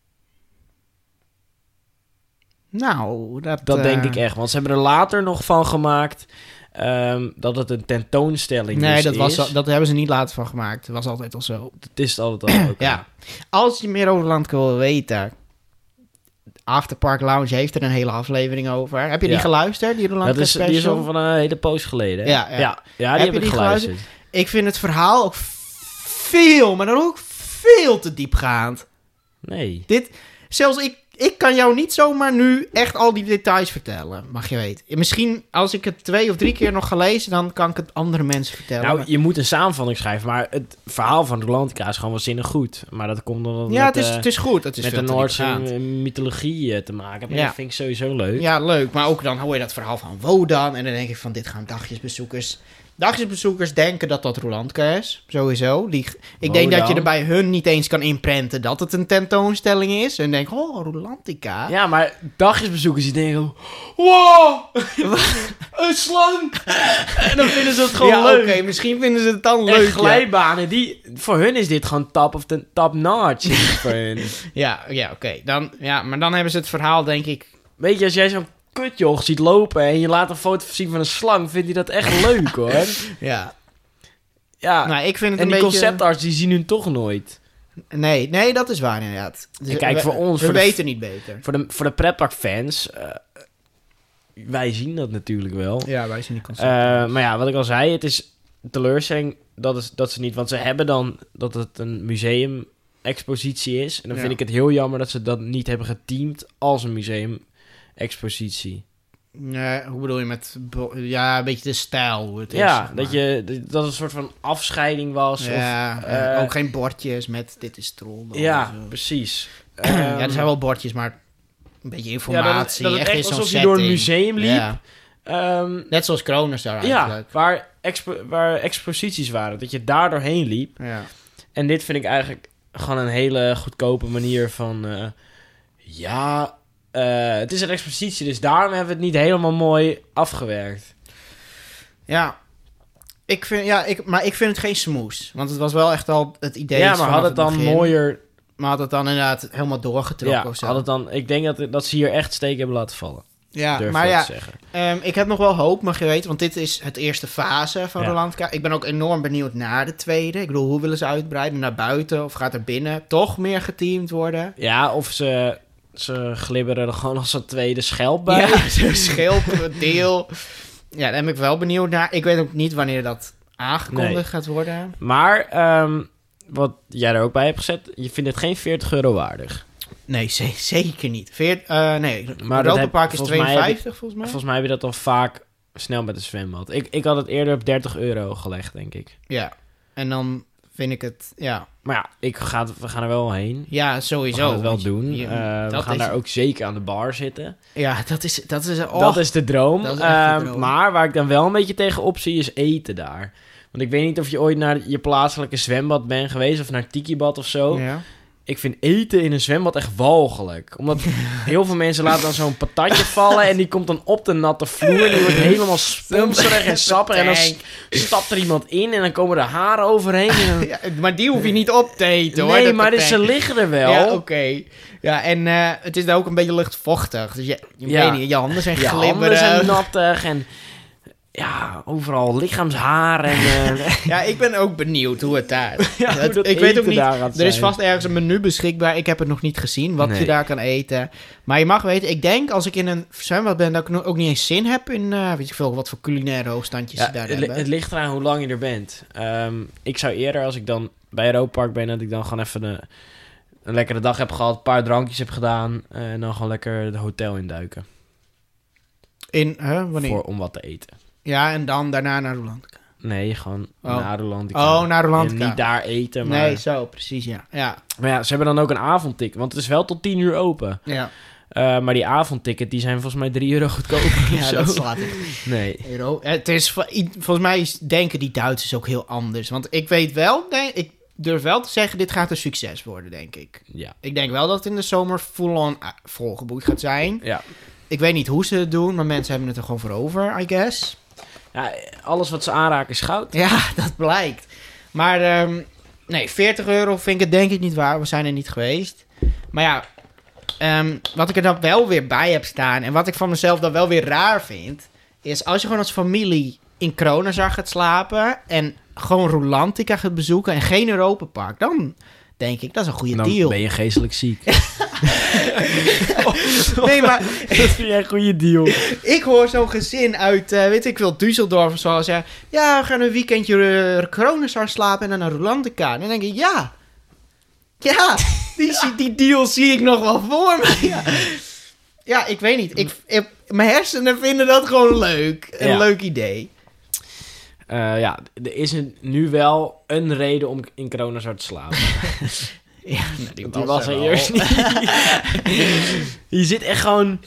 [SPEAKER 2] Nou, dat...
[SPEAKER 1] Dat
[SPEAKER 2] eh,
[SPEAKER 1] denk ik echt, want ze hebben er later nog van gemaakt ehm, dat het een tentoonstelling
[SPEAKER 2] Nee,
[SPEAKER 1] dus
[SPEAKER 2] dat,
[SPEAKER 1] is.
[SPEAKER 2] was, al- dat hebben ze niet later van gemaakt. Dat was altijd al zo.
[SPEAKER 1] Dat is het altijd al. oké.
[SPEAKER 2] Ja. Als je meer over Landke wil weten... Afterpark Lounge heeft er een hele aflevering over. Heb je die
[SPEAKER 1] Ja.
[SPEAKER 2] geluisterd, die Roland
[SPEAKER 1] Dat is,
[SPEAKER 2] special?
[SPEAKER 1] die is al van een hele poos geleden. hè?
[SPEAKER 2] Ja, ja.
[SPEAKER 1] ja. ja,
[SPEAKER 2] Heb
[SPEAKER 1] die heb,
[SPEAKER 2] je
[SPEAKER 1] ik
[SPEAKER 2] die
[SPEAKER 1] geluisterd.
[SPEAKER 2] Ik vind het verhaal ook veel, maar dan ook veel te diepgaand.
[SPEAKER 1] Nee.
[SPEAKER 2] Dit, zelfs ik, ik kan jou niet zomaar nu echt al die details vertellen, mag je weten. Misschien als ik het twee of drie keer nog ga lezen, dan kan ik het andere mensen vertellen.
[SPEAKER 1] Nou, je moet een samenvatting schrijven, maar het verhaal van Rolantica is gewoon waanzinnig goed. Maar dat komt omdat het
[SPEAKER 2] ja,
[SPEAKER 1] met,
[SPEAKER 2] het is,
[SPEAKER 1] eh,
[SPEAKER 2] het is goed. Het is
[SPEAKER 1] met
[SPEAKER 2] veel
[SPEAKER 1] de
[SPEAKER 2] te
[SPEAKER 1] Noordse
[SPEAKER 2] diepgaand.
[SPEAKER 1] eh, mythologie eh, te maken hebben.
[SPEAKER 2] Ja.
[SPEAKER 1] Dat vind ik sowieso leuk.
[SPEAKER 2] Ja, leuk. Maar ook dan hoor je dat verhaal van Wodan. En dan denk ik van, dit gaan dagjesbezoekers... Dagjesbezoekers denken dat dat Rolandka is. Sowieso. Die, ik denk dat je
[SPEAKER 1] Wodan.
[SPEAKER 2] er bij hun niet eens kan inprenten dat het een tentoonstelling is. En denk, oh, Rolantica.
[SPEAKER 1] Ja, maar dagjesbezoekers die denken... Wow! een slang! en dan vinden ze het gewoon
[SPEAKER 2] Ja,
[SPEAKER 1] leuk.
[SPEAKER 2] oké, misschien vinden ze het dan
[SPEAKER 1] en
[SPEAKER 2] leuk. ja.
[SPEAKER 1] glijbanen, die, voor hun is dit gewoon top of the top notch. voor hun.
[SPEAKER 2] Ja, ja oké. Dan, ja, maar dan hebben ze het verhaal, denk ik.
[SPEAKER 1] Weet je, als jij zo'n kutjoch ziet lopen en je laat een foto zien van een slang, vindt hij dat echt leuk hoor.
[SPEAKER 2] Ja.
[SPEAKER 1] Ja,
[SPEAKER 2] Nou, ik vind het
[SPEAKER 1] en
[SPEAKER 2] een
[SPEAKER 1] die
[SPEAKER 2] beetje...
[SPEAKER 1] conceptarts die zien hun toch nooit.
[SPEAKER 2] Nee, nee, dat is waar inderdaad. Dus
[SPEAKER 1] En kijk,
[SPEAKER 2] we-
[SPEAKER 1] voor ons,
[SPEAKER 2] We
[SPEAKER 1] voor de-
[SPEAKER 2] weten niet beter.
[SPEAKER 1] Voor de, voor de pretparkfans, eh, wij zien dat natuurlijk wel.
[SPEAKER 2] Ja, wij zijn niet concept.
[SPEAKER 1] Eh, maar ja, wat ik al zei, het is teleurstelling dat, is, dat ze niet... Want ze hebben dan dat het een museumexpositie is. En dan
[SPEAKER 2] Ja.
[SPEAKER 1] vind ik het heel jammer dat ze dat niet hebben geteamd als een museumexpositie.
[SPEAKER 2] Nee, hoe bedoel je met... bo- Ja, een beetje de stijl, hoe het is. zeg
[SPEAKER 1] Ja,
[SPEAKER 2] maar.
[SPEAKER 1] dat, je, dat het een soort van afscheiding was. of-
[SPEAKER 2] Ja,
[SPEAKER 1] eh,
[SPEAKER 2] eh, ook geen bordjes met dit is troll. dan
[SPEAKER 1] ja
[SPEAKER 2] of zo.
[SPEAKER 1] precies. Ehm,
[SPEAKER 2] ja, er zijn wel bordjes, maar een beetje informatie.
[SPEAKER 1] dat het
[SPEAKER 2] echt
[SPEAKER 1] echt
[SPEAKER 2] in zo'n
[SPEAKER 1] alsof je door een
[SPEAKER 2] setting.
[SPEAKER 1] museum liep.
[SPEAKER 2] Ja.
[SPEAKER 1] Ehm,
[SPEAKER 2] Net zoals Kroners daar
[SPEAKER 1] ja,
[SPEAKER 2] eigenlijk.
[SPEAKER 1] waar, expo- waar exposities waren. Dat je daar doorheen liep.
[SPEAKER 2] Ja.
[SPEAKER 1] En dit vind ik eigenlijk gewoon een hele goedkope manier van... eh, ja, eh, het is een expositie, dus daarom hebben we het niet helemaal mooi afgewerkt.
[SPEAKER 2] Ja. Ik vind, ja, ik, maar ik vind het geen smoes. Want het was wel echt al het idee.
[SPEAKER 1] ja,
[SPEAKER 2] is
[SPEAKER 1] maar
[SPEAKER 2] vanaf
[SPEAKER 1] had het dan
[SPEAKER 2] begin.
[SPEAKER 1] mooier...
[SPEAKER 2] Maar had het dan inderdaad helemaal doorgetrokken
[SPEAKER 1] Ja,
[SPEAKER 2] of zo.
[SPEAKER 1] had het dan, ik denk dat, dat ze hier echt steek hebben laten vallen.
[SPEAKER 2] ja,
[SPEAKER 1] durf
[SPEAKER 2] maar
[SPEAKER 1] ik
[SPEAKER 2] ja,
[SPEAKER 1] te zeggen.
[SPEAKER 2] ehm, ik heb nog wel hoop, mag je weten. Want dit is het eerste fase van
[SPEAKER 1] Ja.
[SPEAKER 2] de Rolandka. Ik ben ook enorm benieuwd naar de tweede. Ik bedoel, hoe willen ze uitbreiden? Naar buiten of gaat er binnen toch meer geteamd worden?
[SPEAKER 1] Ja, of ze, ze glibberen er gewoon als een tweede schelp bij.
[SPEAKER 2] Ja, zo'n schildperdeel. Ja, daar ben ik wel benieuwd naar. Ik weet ook niet wanneer dat aangekondigd
[SPEAKER 1] Nee.
[SPEAKER 2] gaat worden.
[SPEAKER 1] Maar ehm, wat jij er ook bij hebt gezet, je vindt het geen 40 euro waardig.
[SPEAKER 2] Nee, ze- zeker niet. Veer, eh, nee,
[SPEAKER 1] Maar dat
[SPEAKER 2] Europa
[SPEAKER 1] heb-
[SPEAKER 2] Park is
[SPEAKER 1] volgens mij heb
[SPEAKER 2] 52 volgens mij.
[SPEAKER 1] Volgens mij heb je dat al vaak snel met een zwembad. Ik, ik had het eerder op 30 euro gelegd, denk ik.
[SPEAKER 2] Ja, en dan vind ik het, ja,
[SPEAKER 1] Maar ja, ik ga, het- we gaan er wel heen.
[SPEAKER 2] ja
[SPEAKER 1] We
[SPEAKER 2] sowieso.
[SPEAKER 1] gaan het wel
[SPEAKER 2] Want je-
[SPEAKER 1] doen.
[SPEAKER 2] je-
[SPEAKER 1] Eh, we
[SPEAKER 2] dat
[SPEAKER 1] gaan
[SPEAKER 2] is-
[SPEAKER 1] daar ook zeker aan de bar zitten.
[SPEAKER 2] Ja, dat is, dat is, oh,
[SPEAKER 1] dat is de droom.
[SPEAKER 2] dat is echt de
[SPEAKER 1] Ehm,
[SPEAKER 2] droom.
[SPEAKER 1] maar waar ik dan wel een beetje tegenop zie, is eten daar. Want ik weet niet of je ooit naar je plaatselijke zwembad bent geweest... of naar Tikibad of zo.
[SPEAKER 2] Ja.
[SPEAKER 1] Ik vind eten in een zwembad echt walgelijk. Omdat heel veel mensen laten dan zo'n patatje vallen... en die komt dan op de natte vloer... en die wordt helemaal sponserig en sappig. En dan s- stapt er iemand in en dan komen de haren overheen. En dan...
[SPEAKER 2] Ja, maar die hoef je niet op te eten hoor.
[SPEAKER 1] Nee,
[SPEAKER 2] dat
[SPEAKER 1] maar dus
[SPEAKER 2] patatje.
[SPEAKER 1] ze liggen er wel.
[SPEAKER 2] Ja, oké. Ja, en eh, het is daar ook een beetje luchtvochtig. Dus je, je
[SPEAKER 1] Ja.
[SPEAKER 2] weet niet, je handen zijn
[SPEAKER 1] Je handen
[SPEAKER 2] glibberig.
[SPEAKER 1] zijn nattig en... Ja, overal lichaamshaar en... eh,
[SPEAKER 2] Ja, ik ben ook benieuwd hoe het daar.
[SPEAKER 1] ja, hoe
[SPEAKER 2] Het-
[SPEAKER 1] dat
[SPEAKER 2] ik weet ook
[SPEAKER 1] eten
[SPEAKER 2] niet.
[SPEAKER 1] daar gaat
[SPEAKER 2] Er is
[SPEAKER 1] zijn.
[SPEAKER 2] vast ergens een menu beschikbaar. Ik heb het nog niet gezien wat je
[SPEAKER 1] Nee.
[SPEAKER 2] daar kan eten. Maar je mag weten, ik denk als ik in een zwembad ben dat ik no- ook niet eens zin heb in eh, weet je veel wat voor culinaire hoogstandjes
[SPEAKER 1] Ja,
[SPEAKER 2] ze daar
[SPEAKER 1] het, li-
[SPEAKER 2] hebben.
[SPEAKER 1] het ligt eraan hoe lang je er bent. Ehm, ik zou eerder, als ik dan bij Europa Park ben, dat ik dan gewoon even een, een lekkere dag heb gehad, een paar drankjes heb gedaan eh, en dan gewoon lekker het hotel induiken.
[SPEAKER 2] in hè, wanneer?
[SPEAKER 1] Voor, om wat te eten.
[SPEAKER 2] Ja, en dan daarna naar Roland.
[SPEAKER 1] Nee, gewoon
[SPEAKER 2] Oh.
[SPEAKER 1] naar Roland.
[SPEAKER 2] Oh, naar Roland.
[SPEAKER 1] En niet daar eten, maar...
[SPEAKER 2] Nee, zo precies ja. Ja.
[SPEAKER 1] Maar ja, ze hebben dan ook een avondtik, want het is wel tot 10 uur open.
[SPEAKER 2] Ja.
[SPEAKER 1] Ehm, Eh, maar die avondticket, die zijn volgens mij 3 euro goedkoper. of
[SPEAKER 2] Ja,
[SPEAKER 1] zo.
[SPEAKER 2] dat slaat echt
[SPEAKER 1] Nee.
[SPEAKER 2] Euro. Het is, va- i- volgens mij is- denken die Duitsers ook heel anders. Want ik weet wel, denk, ik durf wel te zeggen, dit gaat een succes worden, denk ik.
[SPEAKER 1] Ja.
[SPEAKER 2] Ik denk wel dat het in de zomer full-on eh, volgeboekt gaat zijn.
[SPEAKER 1] Ja.
[SPEAKER 2] Ik weet niet hoe ze het doen, maar mensen hebben het er gewoon voor over, I guess.
[SPEAKER 1] ja. Alles wat ze aanraken is goud.
[SPEAKER 2] Ja, dat blijkt. Maar ehm, nee, 40 euro vind ik het denk ik niet waar. We zijn er niet geweest. Maar ja, ehm, wat ik er dan wel weer bij heb staan... en wat ik van mezelf dan wel weer raar vind... is als je gewoon als familie in Kronenzag gaat slapen... en gewoon Rolantica gaat bezoeken en geen Europapark... dan denk ik, dat is een goede
[SPEAKER 1] Dan
[SPEAKER 2] deal.
[SPEAKER 1] ben je geestelijk ziek.
[SPEAKER 2] Nee, maar
[SPEAKER 1] dat vind jij een goede deal.
[SPEAKER 2] Ik hoor zo'n gezin uit, eh, weet ik veel, Düsseldorf of zo zeggen... Ja, we gaan een weekendje uh, Kronenzar slapen en dan naar Rolandica. En dan denk ik, ja. Ja, die, zie- die deal zie ik nog wel voor me. Ja, ja ik weet niet. Ik, ik- mijn hersenen vinden dat gewoon leuk. Een
[SPEAKER 1] Ja.
[SPEAKER 2] leuk idee.
[SPEAKER 1] Eh, ja, er is een, nu wel een reden om in coronazar te slapen.
[SPEAKER 2] Ja,
[SPEAKER 1] Want nou, die was er eerst niet. je zit echt gewoon...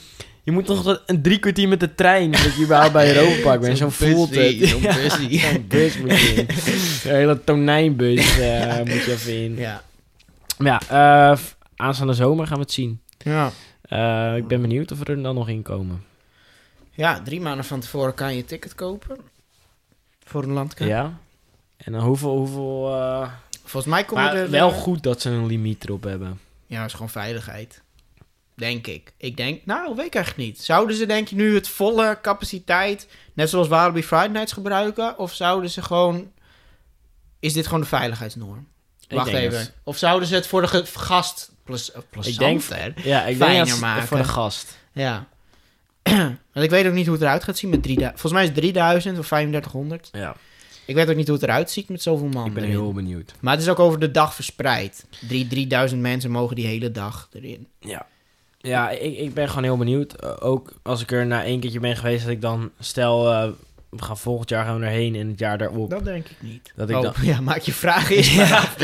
[SPEAKER 1] Je moet nog tot een drie kwartier met de trein... dat je überhaupt bij Europa Park bent. Zo'n voelt het.
[SPEAKER 2] Zo'n
[SPEAKER 1] Ja,
[SPEAKER 2] bussie.
[SPEAKER 1] Zo'n bus moet je in. Een hele tonijnbus eh, moet je even in.
[SPEAKER 2] Ja.
[SPEAKER 1] Maar ja, eh, v- aanstaande zomer gaan we het zien.
[SPEAKER 2] Ja.
[SPEAKER 1] Eh, ik ben benieuwd of we er dan nog in komen.
[SPEAKER 2] ja, drie maanden van tevoren kan je een ticket kopen. Voor een landkaart.
[SPEAKER 1] Ja? En dan hoeveel... hoeveel eh,
[SPEAKER 2] Volgens mij komen
[SPEAKER 1] Maar
[SPEAKER 2] er...
[SPEAKER 1] wel
[SPEAKER 2] eh,
[SPEAKER 1] goed dat ze een limiet erop hebben.
[SPEAKER 2] Ja, is gewoon veiligheid. Denk ik. Ik denk, nou, weet ik echt niet. Zouden ze denk je nu het volle capaciteit, net zoals Walibi Friday Nights gebruiken? Of zouden ze gewoon... Is dit gewoon de veiligheidsnorm?
[SPEAKER 1] Ik
[SPEAKER 2] Wacht
[SPEAKER 1] denk
[SPEAKER 2] even.
[SPEAKER 1] dat-
[SPEAKER 2] Of zouden ze het voor de ge- gast... Plus, eh, plus
[SPEAKER 1] Ik denk-
[SPEAKER 2] zanter?
[SPEAKER 1] Ja, ik denk
[SPEAKER 2] Fijner
[SPEAKER 1] dat ze-
[SPEAKER 2] maken.
[SPEAKER 1] voor de gast.
[SPEAKER 2] Ja. Want ik weet ook niet hoe het eruit gaat zien met 3000. Volgens mij is 3000 of 3500.
[SPEAKER 1] Ja,
[SPEAKER 2] Ik weet ook niet hoe het eruit ziet met zoveel man.
[SPEAKER 1] ik ben
[SPEAKER 2] erin.
[SPEAKER 1] heel benieuwd.
[SPEAKER 2] Maar het is ook over de dag verspreid. Drie- 3000 mensen mogen die hele dag erin.
[SPEAKER 1] Ja, ja ik, ik ben gewoon heel benieuwd. Eh, ook als ik er na één keertje ben geweest, dat ik dan stel, eh, we gaan volgend jaar gewoon erheen en het jaar daarop. Dat,
[SPEAKER 2] Dat denk ik niet.
[SPEAKER 1] Dat ik
[SPEAKER 2] Oh,
[SPEAKER 1] dan-
[SPEAKER 2] Ja, maak je vragen eens. maar af.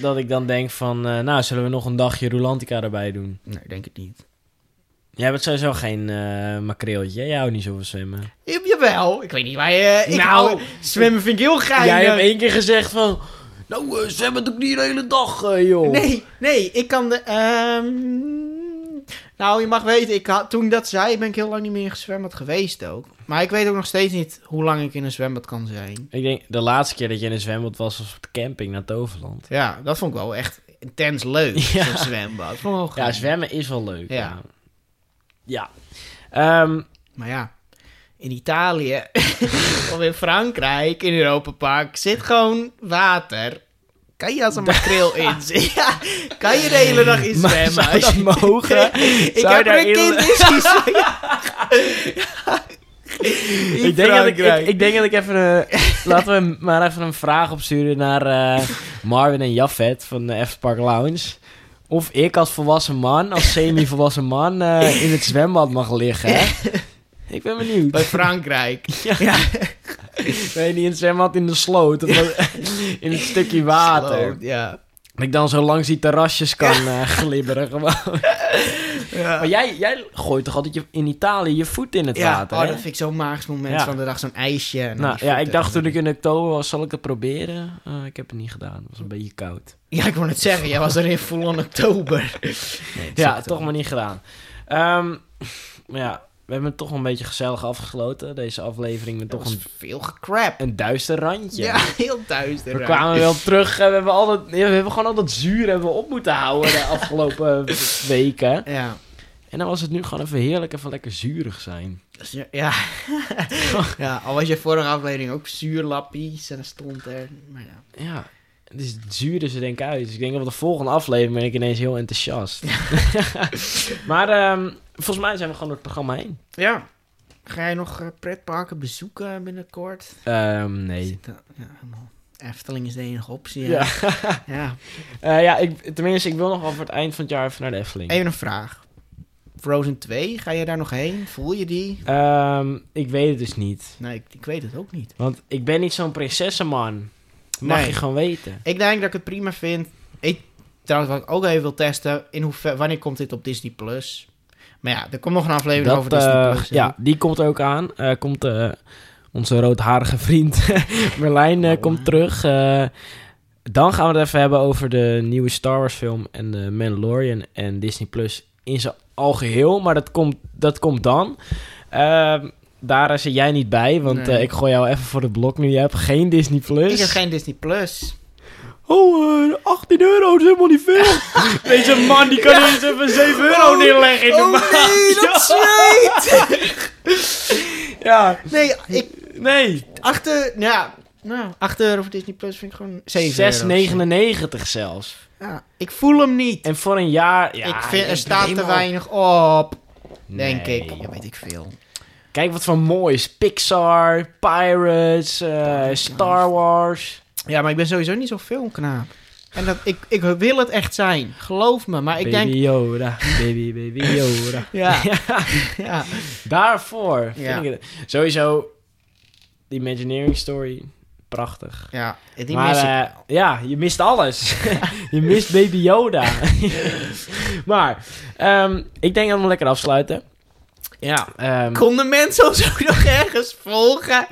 [SPEAKER 1] dat, ik dan denk van, eh, nou, zullen we nog een dagje Rolantica erbij doen?
[SPEAKER 2] Nee, ik denk het niet.
[SPEAKER 1] Jij bent sowieso geen eh makreeltje. Jij houdt niet zo van zwemmen.
[SPEAKER 2] Ja, jawel, ik weet niet waar je... Ik
[SPEAKER 1] Nou,
[SPEAKER 2] hou- zwemmen vind ik heel eh. geinig.
[SPEAKER 1] Jij hebt één keer gezegd van, nou, eh, zwemmen doe ik niet de hele dag, eh, joh.
[SPEAKER 2] Nee, nee, ik kan de... ehm, Nou, je mag weten, ik had, toen ik dat zei, ben ik heel lang niet meer in een zwembad geweest ook. Maar ik weet ook nog steeds niet hoe lang ik in een zwembad kan zijn.
[SPEAKER 1] Ik denk, de laatste keer dat je in een zwembad was, was op de camping naar Toverland.
[SPEAKER 2] Ja, dat vond ik wel echt intens leuk,
[SPEAKER 1] Ja.
[SPEAKER 2] zo'n zwembad. Vond ik wel
[SPEAKER 1] Ja,
[SPEAKER 2] geinig.
[SPEAKER 1] zwemmen is wel leuk.
[SPEAKER 2] Ja.
[SPEAKER 1] Ja. Ja. Ehm,
[SPEAKER 2] Maar ja, in Italië of in Frankrijk, in Europa Park, zit gewoon water. Kan je als een makreel in zitten? Ja, kan je de hele dag in
[SPEAKER 1] maar
[SPEAKER 2] zwemmen?
[SPEAKER 1] zou
[SPEAKER 2] als
[SPEAKER 1] dat
[SPEAKER 2] je-
[SPEAKER 1] mogen?
[SPEAKER 2] ik
[SPEAKER 1] Zou
[SPEAKER 2] heb
[SPEAKER 1] daar
[SPEAKER 2] er een
[SPEAKER 1] heel-
[SPEAKER 2] kind in zien zwemmen. In
[SPEAKER 1] ik, denk dat ik,
[SPEAKER 2] Frankrijk.
[SPEAKER 1] ik, ik denk dat ik even... eh, laten we hem maar even een vraag opsturen naar eh, Marvin en Jafet van de F Park Lounge. Of ik als volwassen man, als semi-volwassen man, eh, in het zwembad mag liggen. hè? ik ben benieuwd.
[SPEAKER 2] Bij Frankrijk. Ja.
[SPEAKER 1] Nee, niet in het zwembad, in de sloot. of wat- in het stukje water.
[SPEAKER 2] Sloot, Oh, Ja.
[SPEAKER 1] Dat ik dan zo langs die terrasjes kan eh, glibberen gewoon.
[SPEAKER 2] Ja.
[SPEAKER 1] Maar jij, jij gooit toch altijd je, in Italië je voet in het
[SPEAKER 2] Ja,
[SPEAKER 1] water,
[SPEAKER 2] oh,
[SPEAKER 1] hè?
[SPEAKER 2] dat vind ik zo'n magisch moment
[SPEAKER 1] Ja.
[SPEAKER 2] van de dag. Zo'n ijsje. en dan
[SPEAKER 1] Nou
[SPEAKER 2] die
[SPEAKER 1] ja, ik
[SPEAKER 2] voeten.
[SPEAKER 1] dacht toen ik in oktober was, zal ik het proberen? Eh, ik heb het niet gedaan, het was een beetje koud.
[SPEAKER 2] Ja, ik wou net zeggen, jij was er in full-on oktober. Nee, dat
[SPEAKER 1] Ja,
[SPEAKER 2] zit
[SPEAKER 1] toch
[SPEAKER 2] er
[SPEAKER 1] maar niet gedaan. Ehm, maar ja, we hebben het toch een beetje gezellig afgesloten, deze aflevering, met
[SPEAKER 2] Dat
[SPEAKER 1] toch een,
[SPEAKER 2] was veel gecrap.
[SPEAKER 1] een duister randje.
[SPEAKER 2] Ja, heel duister.
[SPEAKER 1] We kwamen wel terug, eh, we hebben, al dat, ja, we hebben gewoon al dat zuur hebben we op moeten houden de afgelopen weken.
[SPEAKER 2] Ja.
[SPEAKER 1] En dan was het nu gewoon even heerlijk, even lekker zuurig zijn.
[SPEAKER 2] Dus ja, ja. ja, al was je vorige aflevering ook zuurlappies en dan stond er. Maar ja.
[SPEAKER 1] Ja, het is het zuurde ze denk ik uit. Dus ik denk dat de volgende aflevering ben ik ineens heel enthousiast. maar ehm, volgens mij zijn we gewoon door het programma heen.
[SPEAKER 2] ja. Ga jij nog eh, pretparken bezoeken binnenkort?
[SPEAKER 1] Ehm, nee.
[SPEAKER 2] Zit er- Ja, helemaal. Efteling is de enige optie. hè?
[SPEAKER 1] Ja,
[SPEAKER 2] ja.
[SPEAKER 1] Eh, ja ik, tenminste, ik wil nog wel voor het eind van het jaar even naar de Efteling.
[SPEAKER 2] Even een vraag. Frozen 2, ga je daar nog heen? Voel je die?
[SPEAKER 1] Ehm, ik weet het dus niet.
[SPEAKER 2] Nee, ik, ik weet het ook niet.
[SPEAKER 1] Want ik ben niet zo'n prinsessenman. Dat mag
[SPEAKER 2] Nee.
[SPEAKER 1] je gewoon weten.
[SPEAKER 2] Ik denk dat ik het prima vind. Ik, trouwens, wat ik ook even wil testen, in hoever, wanneer komt dit op Disney Plus? Maar ja, er komt nog een aflevering
[SPEAKER 1] Dat,
[SPEAKER 2] over Disney+.
[SPEAKER 1] eh,
[SPEAKER 2] Plus, hè.
[SPEAKER 1] ja, die komt ook aan. Eh, komt eh, onze roodharige vriend Merlijn eh, komt terug. Eh, dan gaan we het even hebben over de nieuwe Star Wars film en de Mandalorian en Disney Plus in zijn algeheel. Maar dat komt, dat komt dan. Ehm daar eh, zit jij niet bij, want
[SPEAKER 2] Nee.
[SPEAKER 1] eh, ik gooi jou even voor de blok nu. Je hebt geen Disney Plus.
[SPEAKER 2] Ik heb geen Disney+. Plus.
[SPEAKER 1] Oh, eh, 18 euro, dat is helemaal niet veel. Deze man die kan eens even 7 euro neerleggen in de maand.
[SPEAKER 2] Oh, nee,
[SPEAKER 1] Ja.
[SPEAKER 2] zweet!
[SPEAKER 1] Ja,
[SPEAKER 2] Nee, ik...
[SPEAKER 1] nee.
[SPEAKER 2] Achter... Nou, ja, nou, 8 euro voor Disney Plus vind ik gewoon 7 euro.
[SPEAKER 1] 6,99 zelfs.
[SPEAKER 2] Ja, ik voel hem niet.
[SPEAKER 1] En voor een jaar... Ja,
[SPEAKER 2] ik vind,
[SPEAKER 1] ik
[SPEAKER 2] er staat te
[SPEAKER 1] helemaal-
[SPEAKER 2] weinig op, denk
[SPEAKER 1] Nee.
[SPEAKER 2] ik. Ja, weet ik veel.
[SPEAKER 1] Kijk wat voor moois. Pixar, Pirates, eh, Star Wars.
[SPEAKER 2] Ja, maar ik ben sowieso niet zo'n filmknaap. En dat, ik, ik wil het echt zijn. Geloof me. Maar ik
[SPEAKER 1] baby
[SPEAKER 2] denk...
[SPEAKER 1] Yoda, baby, baby Yoda.
[SPEAKER 2] Ja. ja.
[SPEAKER 1] Daarvoor vind
[SPEAKER 2] Ja.
[SPEAKER 1] ik het... Sowieso, de Imagineering Story, prachtig.
[SPEAKER 2] Ja. Die
[SPEAKER 1] maar
[SPEAKER 2] mis ik.
[SPEAKER 1] eh, ja, je mist alles. je mist Baby Yoda. maar ehm, ik denk dat we lekker afsluiten.
[SPEAKER 2] Ja.
[SPEAKER 1] Ehm,
[SPEAKER 2] Konden mensen ons ook nog ergens volgen?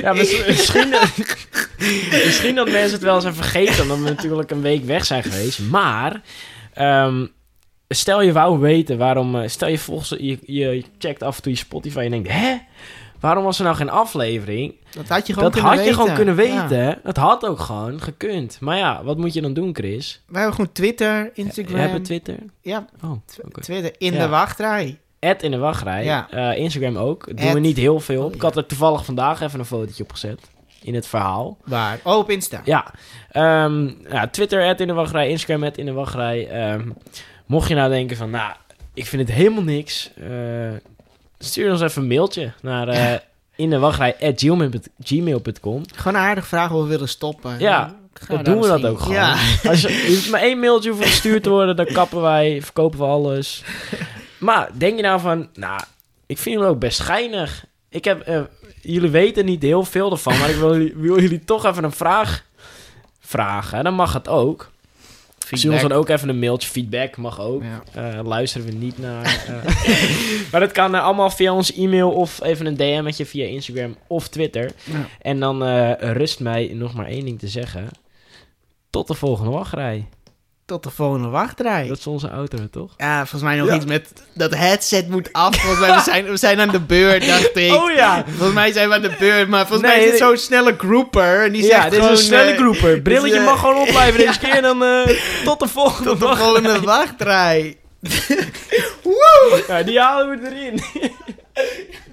[SPEAKER 1] ja, mis- misschien, misschien dat mensen het wel zijn vergeten, omdat we natuurlijk een week weg zijn geweest. Maar ehm, stel je wou weten waarom. eh, stel je volgens je, je checkt af en toe je Spotify en je denkt: hè? Waarom was er nou geen aflevering?
[SPEAKER 2] Dat had je gewoon
[SPEAKER 1] Dat had
[SPEAKER 2] kunnen
[SPEAKER 1] je
[SPEAKER 2] weten.
[SPEAKER 1] gewoon kunnen
[SPEAKER 2] Ja.
[SPEAKER 1] weten. hè? Dat had ook gewoon gekund. Maar ja, wat moet je dan doen, Chris?
[SPEAKER 2] We hebben gewoon Twitter, Instagram.
[SPEAKER 1] We hebben Twitter.
[SPEAKER 2] ja,
[SPEAKER 1] Oh,
[SPEAKER 2] tw-
[SPEAKER 1] oké.
[SPEAKER 2] Twitter in
[SPEAKER 1] Ja.
[SPEAKER 2] de wachtrij.
[SPEAKER 1] Ad in de wachtrij.
[SPEAKER 2] Ja.
[SPEAKER 1] Eh, Instagram ook. Doen
[SPEAKER 2] Ad.
[SPEAKER 1] we niet heel veel.
[SPEAKER 2] Oh,
[SPEAKER 1] Ik
[SPEAKER 2] ja.
[SPEAKER 1] had er toevallig vandaag even een fotootje op gezet. In het verhaal.
[SPEAKER 2] Waar? Oh, op Insta.
[SPEAKER 1] Ja. Ehm, ja Twitter, ad in de wachtrij. Instagram, ad in de wachtrij. Ehm, mocht je nou denken van, nou, ik vind het helemaal niks. eh, stuur ons even een mailtje naar eh in de wachtrij gmail.com.
[SPEAKER 2] Gewoon een aardige vraag hoe we willen stoppen.
[SPEAKER 1] Ja,
[SPEAKER 2] Gaan
[SPEAKER 1] Dan
[SPEAKER 2] daar
[SPEAKER 1] doen we dat
[SPEAKER 2] misschien-
[SPEAKER 1] ook gewoon.
[SPEAKER 2] Ja.
[SPEAKER 1] Als je, je hoeft maar één mailtje hoeft gestuurd te worden, dan kappen wij, verkopen we alles. Maar denk je nou van, nou, ik vind jullie ook best geinig. Ik heb, eh, jullie weten niet heel veel ervan, maar ik wil, jullie- wil jullie toch even een vraag vragen. Dan mag het ook. Stuur ons dan ook even een mailtje, feedback mag ook.
[SPEAKER 2] Ja.
[SPEAKER 1] Eh, luisteren we niet naar. eh. maar dat kan eh, allemaal via ons e-mail of even een DM'tje via Instagram of Twitter.
[SPEAKER 2] Ja.
[SPEAKER 1] En dan eh, rust mij nog maar één ding te zeggen. Tot de volgende wachtrij.
[SPEAKER 2] Tot de volgende wachtrij.
[SPEAKER 1] Dat is onze auto, toch?
[SPEAKER 2] Ja, volgens mij nog
[SPEAKER 1] Ja.
[SPEAKER 2] iets met dat headset moet af. Volgens mij, we zijn, we zijn aan de beurt, dacht ik.
[SPEAKER 1] Oh, ja!
[SPEAKER 2] Volgens mij zijn we aan de beurt, maar volgens mij
[SPEAKER 1] Nee,
[SPEAKER 2] is dit
[SPEAKER 1] dit-
[SPEAKER 2] zo'n snelle grooper. En die zegt
[SPEAKER 1] Ja, dit is
[SPEAKER 2] gewoon,
[SPEAKER 1] een snelle
[SPEAKER 2] eh,
[SPEAKER 1] groeper. Brilletje
[SPEAKER 2] eh,
[SPEAKER 1] mag gewoon opblijven deze keer. En dan eh, tot de volgende
[SPEAKER 2] Tot de
[SPEAKER 1] wachtrij.
[SPEAKER 2] volgende wachtrij.
[SPEAKER 1] Ja, die halen we erin.